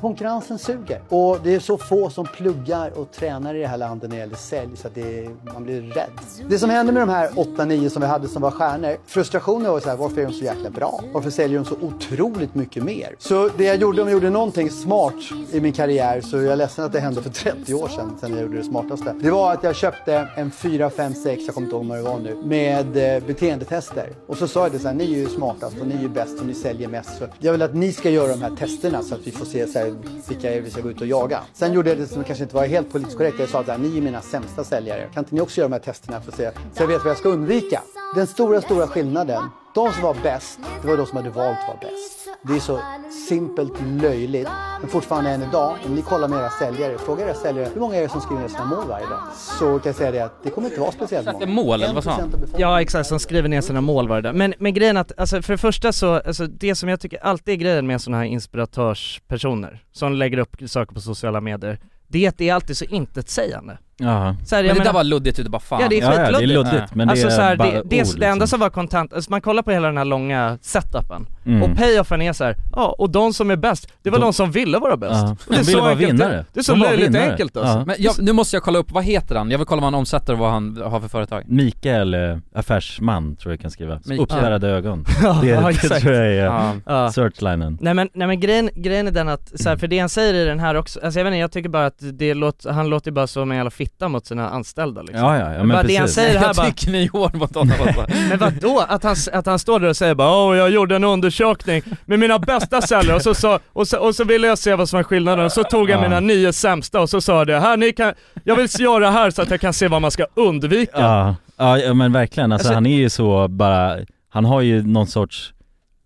Speaker 9: Konkurrensen suger och det är så få som pluggar och tränar i det här landet när det gäller sälj så att det är, man blir rädd. Det som hände med de här 8-9 som vi hade som var stjärnor, frustrationen var så här, varför är de så jäkla bra? Varför säljer de så otroligt mycket mer? Så det jag gjorde, om jag gjorde någonting smart i min karriär så är jag ledsen att det hände för 30 år sedan, sen jag gjorde det smartaste. Det var att jag köpte en 4, 5, 6, jag kommer inte ihåg vad det var nu, med eh, beteendetester. Och så sa jag det så här, ni är ju smartast och ni är ju bäst och ni säljer mest. Så jag vill att ni ska göra de här testerna så att vi får se så här, vilka är vi ska gå ut och jaga. Sen gjorde jag det som kanske inte var helt politiskt korrekt. Jag sa att ni är mina sämsta säljare. Kan inte ni också göra de här testerna för att se så jag vet vad jag ska undvika? Den stora, stora skillnaden. De som var bäst, det var de som hade valt att vara bäst. Det är så simpelt löjligt. Men fortfarande än idag, om ni kollar med era säljare, fråga era säljare hur många är det som skriver ner sina mål varje dag? Så kan jag säga det att det kommer inte vara speciellt många.
Speaker 2: Mål eller vad sa han?
Speaker 1: Ja exakt, som skriver ner sina mål varje dag. Men, men grejen att, alltså, för det första så, alltså, det som jag tycker alltid är grejen med sådana här inspiratörspersoner som lägger upp saker på sociala medier, det är att det är alltid så intetsägande.
Speaker 3: Ja.
Speaker 1: Så här,
Speaker 2: Men det
Speaker 1: jag
Speaker 2: där
Speaker 1: menar-
Speaker 2: var luddigt ute bara fan
Speaker 1: Ja det är
Speaker 3: Ja, ja, det är
Speaker 1: skitluddigt.
Speaker 3: luddigt, men det
Speaker 1: alltså,
Speaker 3: är
Speaker 1: så här,
Speaker 3: bara
Speaker 1: det, det,
Speaker 3: ord,
Speaker 1: det enda
Speaker 3: liksom.
Speaker 1: som var kontant, alltså, man kollar på hela den här långa setupen
Speaker 3: Mm.
Speaker 1: och payoffen är så här, ja och de som är bäst, det var de,
Speaker 3: De-
Speaker 1: som ville vara bäst.
Speaker 3: Ja.
Speaker 1: Och
Speaker 3: De ville
Speaker 1: så
Speaker 3: vara
Speaker 1: enkelt
Speaker 3: vinnare.
Speaker 1: det- Det är så
Speaker 3: De var
Speaker 1: löjligt
Speaker 3: vinnare.
Speaker 1: enkelt alltså.
Speaker 3: Ja.
Speaker 2: Men jag, nu måste jag kolla upp, vad heter han? Jag vill kolla vad han omsätter och vad han har för företag
Speaker 3: Mikael, eh, affärsman tror jag kan skriva.
Speaker 2: Mi-
Speaker 3: Uppspärrade ögon.
Speaker 1: Ja,
Speaker 3: Det,
Speaker 1: ja,
Speaker 3: det
Speaker 1: exakt.
Speaker 3: tror jag är
Speaker 2: Ja.
Speaker 1: Ja.
Speaker 3: ja. searchlinen.
Speaker 1: Nej men, nej, men grejen, grejen är den att, så här, för det han säger i den här också, alltså jag vet inte, jag tycker bara att det låter, han låter ju bara som en jävla fitta mot sina anställda liksom.
Speaker 3: Ja, ja, ja men
Speaker 1: Bara det han
Speaker 3: precis.
Speaker 1: säger här
Speaker 2: Jag
Speaker 1: bara,
Speaker 2: tycker ni är hård mot honom alltså.
Speaker 1: men vadå? Att han, att han står där och säger bara åh jag gjorde en undersökning med mina bästa säljare och så, sa, och, så, och så ville jag se vad som var skillnaden och så tog jag
Speaker 3: Ja.
Speaker 1: mina nio sämsta och så sa jag det här, ni kan, jag vill göra här så att jag kan se vad man ska undvika.
Speaker 3: Ja. Ja, ja, men verkligen. Alltså,
Speaker 1: Alltså-
Speaker 3: han är ju så bara, han har ju någon sorts,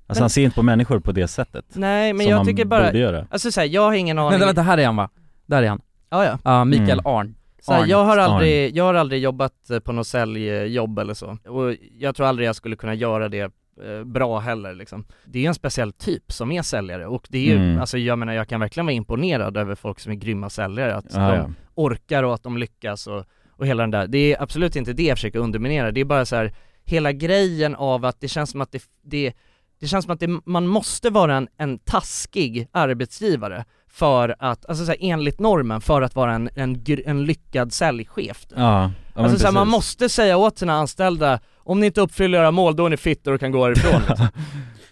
Speaker 3: alltså
Speaker 1: Men-
Speaker 3: han ser inte på människor på det sättet.
Speaker 1: Nej men
Speaker 3: som
Speaker 1: jag
Speaker 3: man
Speaker 1: tycker bara,
Speaker 3: borde göra.
Speaker 1: alltså såhär jag har ingen aning.
Speaker 2: Vänta vänta, här är han va? Där är han,
Speaker 1: Ja, ja.
Speaker 2: Ja, Mikael
Speaker 3: Mm.
Speaker 2: Arn
Speaker 1: Så här,
Speaker 2: Arn.
Speaker 1: jag, har
Speaker 3: Arn.
Speaker 1: aldrig, jag har aldrig jobbat eh, på något säljjobb eller så, och jag tror aldrig jag skulle kunna göra det eh, bra heller liksom. Det är ju en speciell typ som är säljare och det är ju,
Speaker 3: Mm.
Speaker 1: alltså jag menar jag kan verkligen vara imponerad över folk som är grymma säljare, att
Speaker 3: Ja,
Speaker 1: de
Speaker 3: ja.
Speaker 1: orkar och att de lyckas och, och hela den där, det är absolut inte det jag försöker underminera, det är bara så här hela grejen av att det känns som att det, det det känns som att det, man måste vara en, en taskig arbetsgivare för att, alltså så här, enligt normen, för att vara en, en, gr- en lyckad säljchef.
Speaker 3: Ja, ja men
Speaker 1: alltså så här, man
Speaker 3: precis.
Speaker 1: måste säga åt sina anställda, om ni inte uppfyller era mål då är ni fittor och kan gå härifrån. liksom.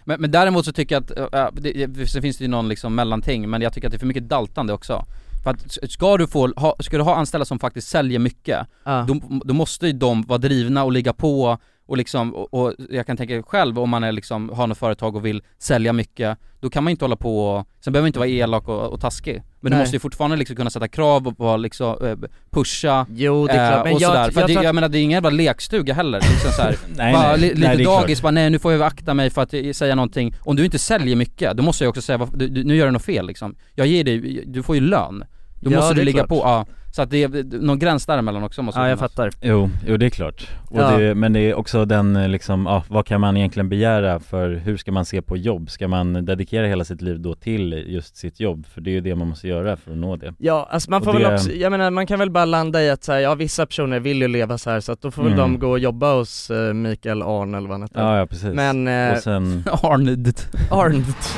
Speaker 2: Men, men däremot så tycker jag att, äh, det, det- sen finns det ju någon liksom mellanting, men jag tycker att det är för mycket daltande också. För att s- ska du få, ha, ska du ha anställda som faktiskt säljer mycket, då, då måste ju de vara drivna och ligga på och liksom, och, och jag kan tänka själv om man är liksom, har något företag och vill sälja mycket, då kan man inte hålla på och, sen behöver man inte vara elak och, och taskig. Men
Speaker 1: Mm. Nej.
Speaker 2: du måste ju fortfarande liksom kunna sätta krav och vara liksom, eh, pusha,
Speaker 1: Jo, det är klart, men
Speaker 2: men och
Speaker 1: jag-
Speaker 2: jag, sådär. För
Speaker 1: jag
Speaker 2: jag, det,
Speaker 1: tror att-
Speaker 2: jag menar det är ingen jävla lekstuga heller liksom så här.
Speaker 3: Nej,
Speaker 2: bara,
Speaker 3: nej.
Speaker 2: li,
Speaker 3: Nej,
Speaker 2: lite
Speaker 3: det är klart.
Speaker 2: dagis, bara nej nu får jag akta mig för att eh, säga någonting. Om du inte säljer mycket, då måste jag också säga vad, du, du, nu gör du något fel liksom. Jag ger dig, du får ju lön. Då
Speaker 1: Ja,
Speaker 2: måste
Speaker 1: det
Speaker 2: du
Speaker 1: är
Speaker 2: ligga
Speaker 1: klart.
Speaker 2: på, ja. Så att det är någon gräns däremellan också måste
Speaker 1: Ja, jag
Speaker 2: finnas.
Speaker 1: fattar.
Speaker 3: Jo, jo det är klart. Och
Speaker 2: Ja.
Speaker 3: det, men det är också den eh, liksom, ja, vad kan man egentligen begära för hur ska man se på jobb? Ska man dedikera hela sitt liv då till just sitt jobb? För det är ju det man måste göra för att nå det.
Speaker 1: Ja, alltså man
Speaker 3: Och
Speaker 1: får
Speaker 3: det-
Speaker 1: väl också, jag menar man kan väl bara landa i att så här, ja vissa personer vill ju leva så här så att då får väl
Speaker 3: Mm.
Speaker 1: de gå och jobba hos eh, Mikael Arn eller vad han heter.
Speaker 3: Ja, ja precis.
Speaker 1: Men, eh,
Speaker 3: och sen,
Speaker 2: Arned.
Speaker 1: Arndt.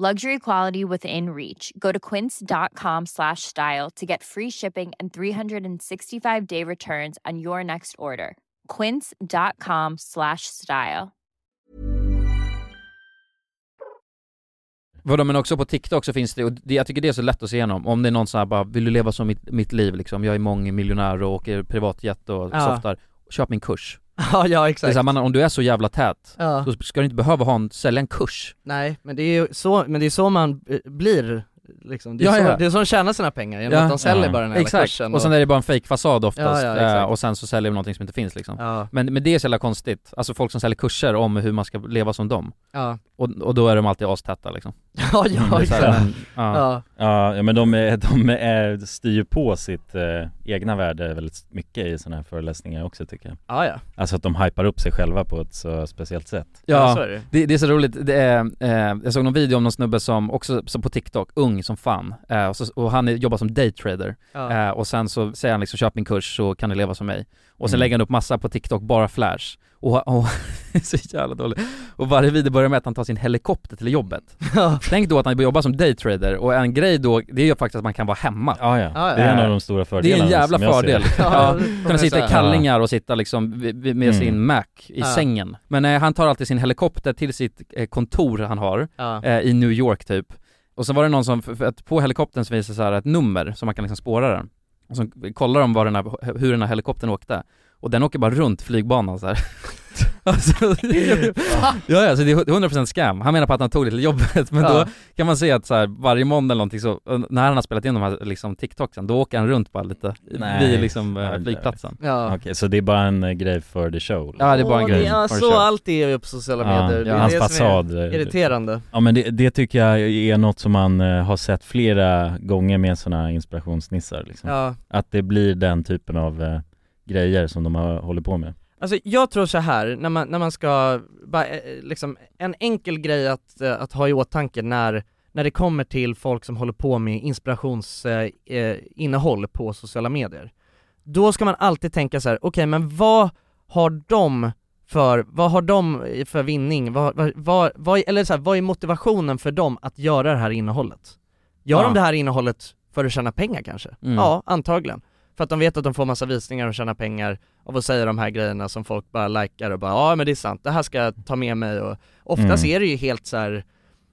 Speaker 6: Luxury quality within reach. Go to quince.com slash style to get free shipping and 365 day returns on your next order. Quince.com slash style.
Speaker 2: Vadå men också på TikTok så finns det, och det, jag tycker det är så lätt att se igenom, om det är någon sån här bara, vill du leva som mitt, mitt liv liksom, jag är mångmiljonär och åker privatjet och
Speaker 1: Ja.
Speaker 2: softar, köp min kurs.
Speaker 1: Ja, ja
Speaker 2: Det är
Speaker 1: exakt.
Speaker 2: så här, man, om du är så jävla tät,
Speaker 1: Ja.
Speaker 2: då ska du inte behöva ha en, sälja en kurs.
Speaker 1: Nej, men det är ju så, men det är så man eh, blir liksom. Det är,
Speaker 2: Ja,
Speaker 1: så,
Speaker 2: ja.
Speaker 1: det är så de tjänar sina pengar, genom att de säljer bara den här jävla
Speaker 2: Exakt,
Speaker 1: kursen.
Speaker 2: och sen är det bara en fejkfasad oftast,
Speaker 1: Ja, ja, exakt.
Speaker 2: eh, och sen så säljer de någonting som inte finns liksom.
Speaker 1: Ja.
Speaker 2: Men, men det är så jävla konstigt, alltså folk som säljer kurser om hur man ska leva som dem.
Speaker 1: Ja.
Speaker 2: Och, och då är de alltid astäta liksom.
Speaker 1: Ja, ja,
Speaker 2: Det är så här, Mm,
Speaker 1: exakt.
Speaker 2: ja.
Speaker 1: Ja.
Speaker 3: ja, ja men de, är, de är, styr ju på sitt eh, egna värde väldigt mycket i sådana här föreläsningar också tycker jag.
Speaker 1: Ja, ja.
Speaker 3: Alltså att de hypar upp sig själva på ett så speciellt sätt.
Speaker 2: Ja, det. Det, är så roligt. Det är, eh, jag såg någon video om någon snubbe som också som på TikTok, ung som fan, eh, och, så, och han är, jobbar som daytrader.
Speaker 1: Ja.
Speaker 2: Eh, och sen så säger han liksom köp min kurs så kan ni leva som mig. Och sen
Speaker 1: Mm.
Speaker 2: lägger han upp massa på TikTok, bara flash. Och, och det är så jävla dåligt. Och varje video börjar med att han tar sin helikopter till jobbet. Tänk då att han jobbar som daytrader och en grej då, det är ju faktiskt att man kan vara hemma.
Speaker 3: Ja, ja. Det är en av de stora
Speaker 2: Det är en
Speaker 3: fördelarna
Speaker 2: jävla
Speaker 3: som jag ser.
Speaker 2: fördel.
Speaker 3: Ja,
Speaker 2: Ja,
Speaker 3: det får man
Speaker 2: kunna sitta
Speaker 3: säga.
Speaker 2: i kallingar och sitta liksom vid- vid- med
Speaker 3: Mm.
Speaker 2: sin Mac i
Speaker 3: Ja.
Speaker 2: sängen. Men eh, han tar alltid sin helikopter till sitt eh, kontor han har
Speaker 1: Ja.
Speaker 2: eh, i New York typ. Och sen var det någon som, för för att på helikoptern så finns det så här ett nummer som man kan liksom spåra den. Och så kollar de var den här, hur den här helikoptern åkte. Och den åker bara runt flygbanan så här. alltså, ja, ja, så det är 100% scam. Han menar på att han tog det till jobbet, men
Speaker 1: Ja.
Speaker 2: då kan man se att så här, varje måndag eller någonting så,
Speaker 4: eh,
Speaker 2: när han har spelat in de här liksom TikToksen, då åker han runt bara lite
Speaker 3: Nej.
Speaker 2: vid liksom eh,
Speaker 3: Ja, det-
Speaker 2: flygplatsen.
Speaker 1: Ja.
Speaker 3: Okej, så det är bara en eh, grej för the show?
Speaker 2: Ja, det är bara en
Speaker 1: Åh,
Speaker 2: grej.
Speaker 1: Ja,
Speaker 2: Har du
Speaker 1: så
Speaker 2: köpt?
Speaker 1: allt är ju på sociala
Speaker 3: Ja,
Speaker 1: medier. Det är
Speaker 3: Hans
Speaker 1: det som är
Speaker 3: fasad.
Speaker 1: Irriterande.
Speaker 3: Ja men det, det tycker jag är något som man eh, har sett flera gånger med sådana här inspirationsnissar liksom.
Speaker 1: Ja.
Speaker 3: Att det blir den typen av eh, grejer som de har, håller på med
Speaker 1: Alltså jag tror så här när man, när man ska, bara, eh, liksom, en enkel grej att, eh, att ha i åtanke när, när det kommer till folk som håller på med inspirationsinnehåll eh, innehåll på sociala medier. Då ska man alltid tänka så här: okej men vad har de för, vad har de eh, för vinning? Vad, vad, vad, vad, eller så här, vad är motivationen för dem att göra det här innehållet? Gör
Speaker 7: Ja.
Speaker 1: de det här innehållet för att tjäna pengar kanske?
Speaker 7: Mm.
Speaker 1: Ja, antagligen. För att de vet att de får massa visningar och tjänar pengar av att säga de här grejerna som folk bara likar och bara ja men det är sant, det här ska jag ta med mig och oftast
Speaker 7: Mm.
Speaker 1: är det ju helt så här.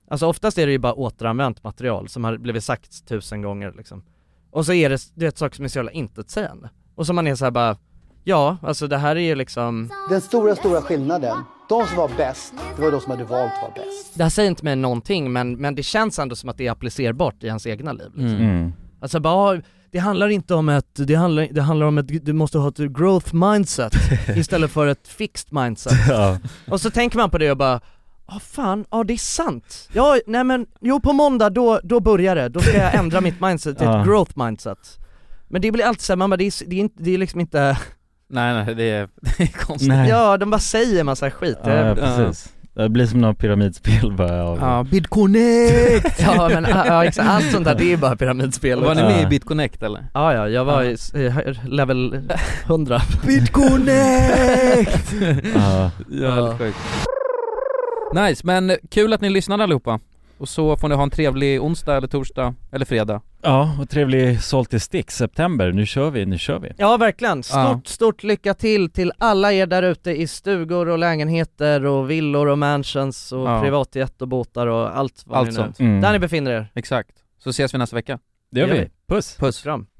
Speaker 1: alltså oftast är det ju bara återanvänt material som har blivit sagt tusen gånger liksom. Och så är det, du vet, saker som är så jävla intetsägande. Och som man är så här bara, ja alltså det här är ju liksom
Speaker 9: Den stora, stora skillnaden, de som var bäst, det var de som hade valt att vara bäst.
Speaker 1: Det här säger inte mig någonting men, men det känns ändå som att det är applicerbart i hans egna liv liksom.
Speaker 3: Mm.
Speaker 1: Alltså bara, ah, det handlar inte om ett, det handlar, det handlar om ett, du måste ha ett growth mindset istället för ett fixed mindset.
Speaker 3: Ja.
Speaker 1: Och så tänker man på det och bara, ja fan, ja det är sant. Ja, nej men, jo på måndag då, då börjar det, då ska jag ändra mitt mindset till
Speaker 2: Ja.
Speaker 1: ett growth mindset. Men det blir alltid såhär, man bara, det är, s- det är, inte, det är liksom inte,
Speaker 4: Nej nej, det är, det är konstigt.
Speaker 3: Nej.
Speaker 1: ja de bara säger massa skit.
Speaker 3: Ja, ja, precis. Det blir som något pyramidspel bara av...
Speaker 1: Ja,
Speaker 4: BitConnect!
Speaker 1: ja men ja, ja, exakt, allt sånt där det är ju bara pyramidspel
Speaker 4: Var ni med i
Speaker 1: Ja.
Speaker 4: BitConnect eller?
Speaker 1: Ja, ja, jag var i s- i hö- level 100
Speaker 4: BitConnect!
Speaker 3: ja,
Speaker 4: ja. helt sjukt. Nice, men kul att ni lyssnade allihopa. Och så får ni ha en trevlig onsdag eller torsdag eller fredag.
Speaker 3: Ja, och trevlig Salty Stick, September. Nu kör vi, nu kör vi.
Speaker 1: Ja verkligen, stort
Speaker 3: Ja.
Speaker 1: stort lycka till till alla er där ute i stugor och lägenheter och villor och mansions och
Speaker 4: Ja.
Speaker 1: privatjet och båtar och allt vad
Speaker 4: Allt
Speaker 1: ni nu-
Speaker 4: sånt. Mm.
Speaker 1: Där ni befinner er.
Speaker 4: Exakt. Så ses vi nästa vecka.
Speaker 1: Det gör vi.
Speaker 4: Puss. Puss.
Speaker 1: Kram.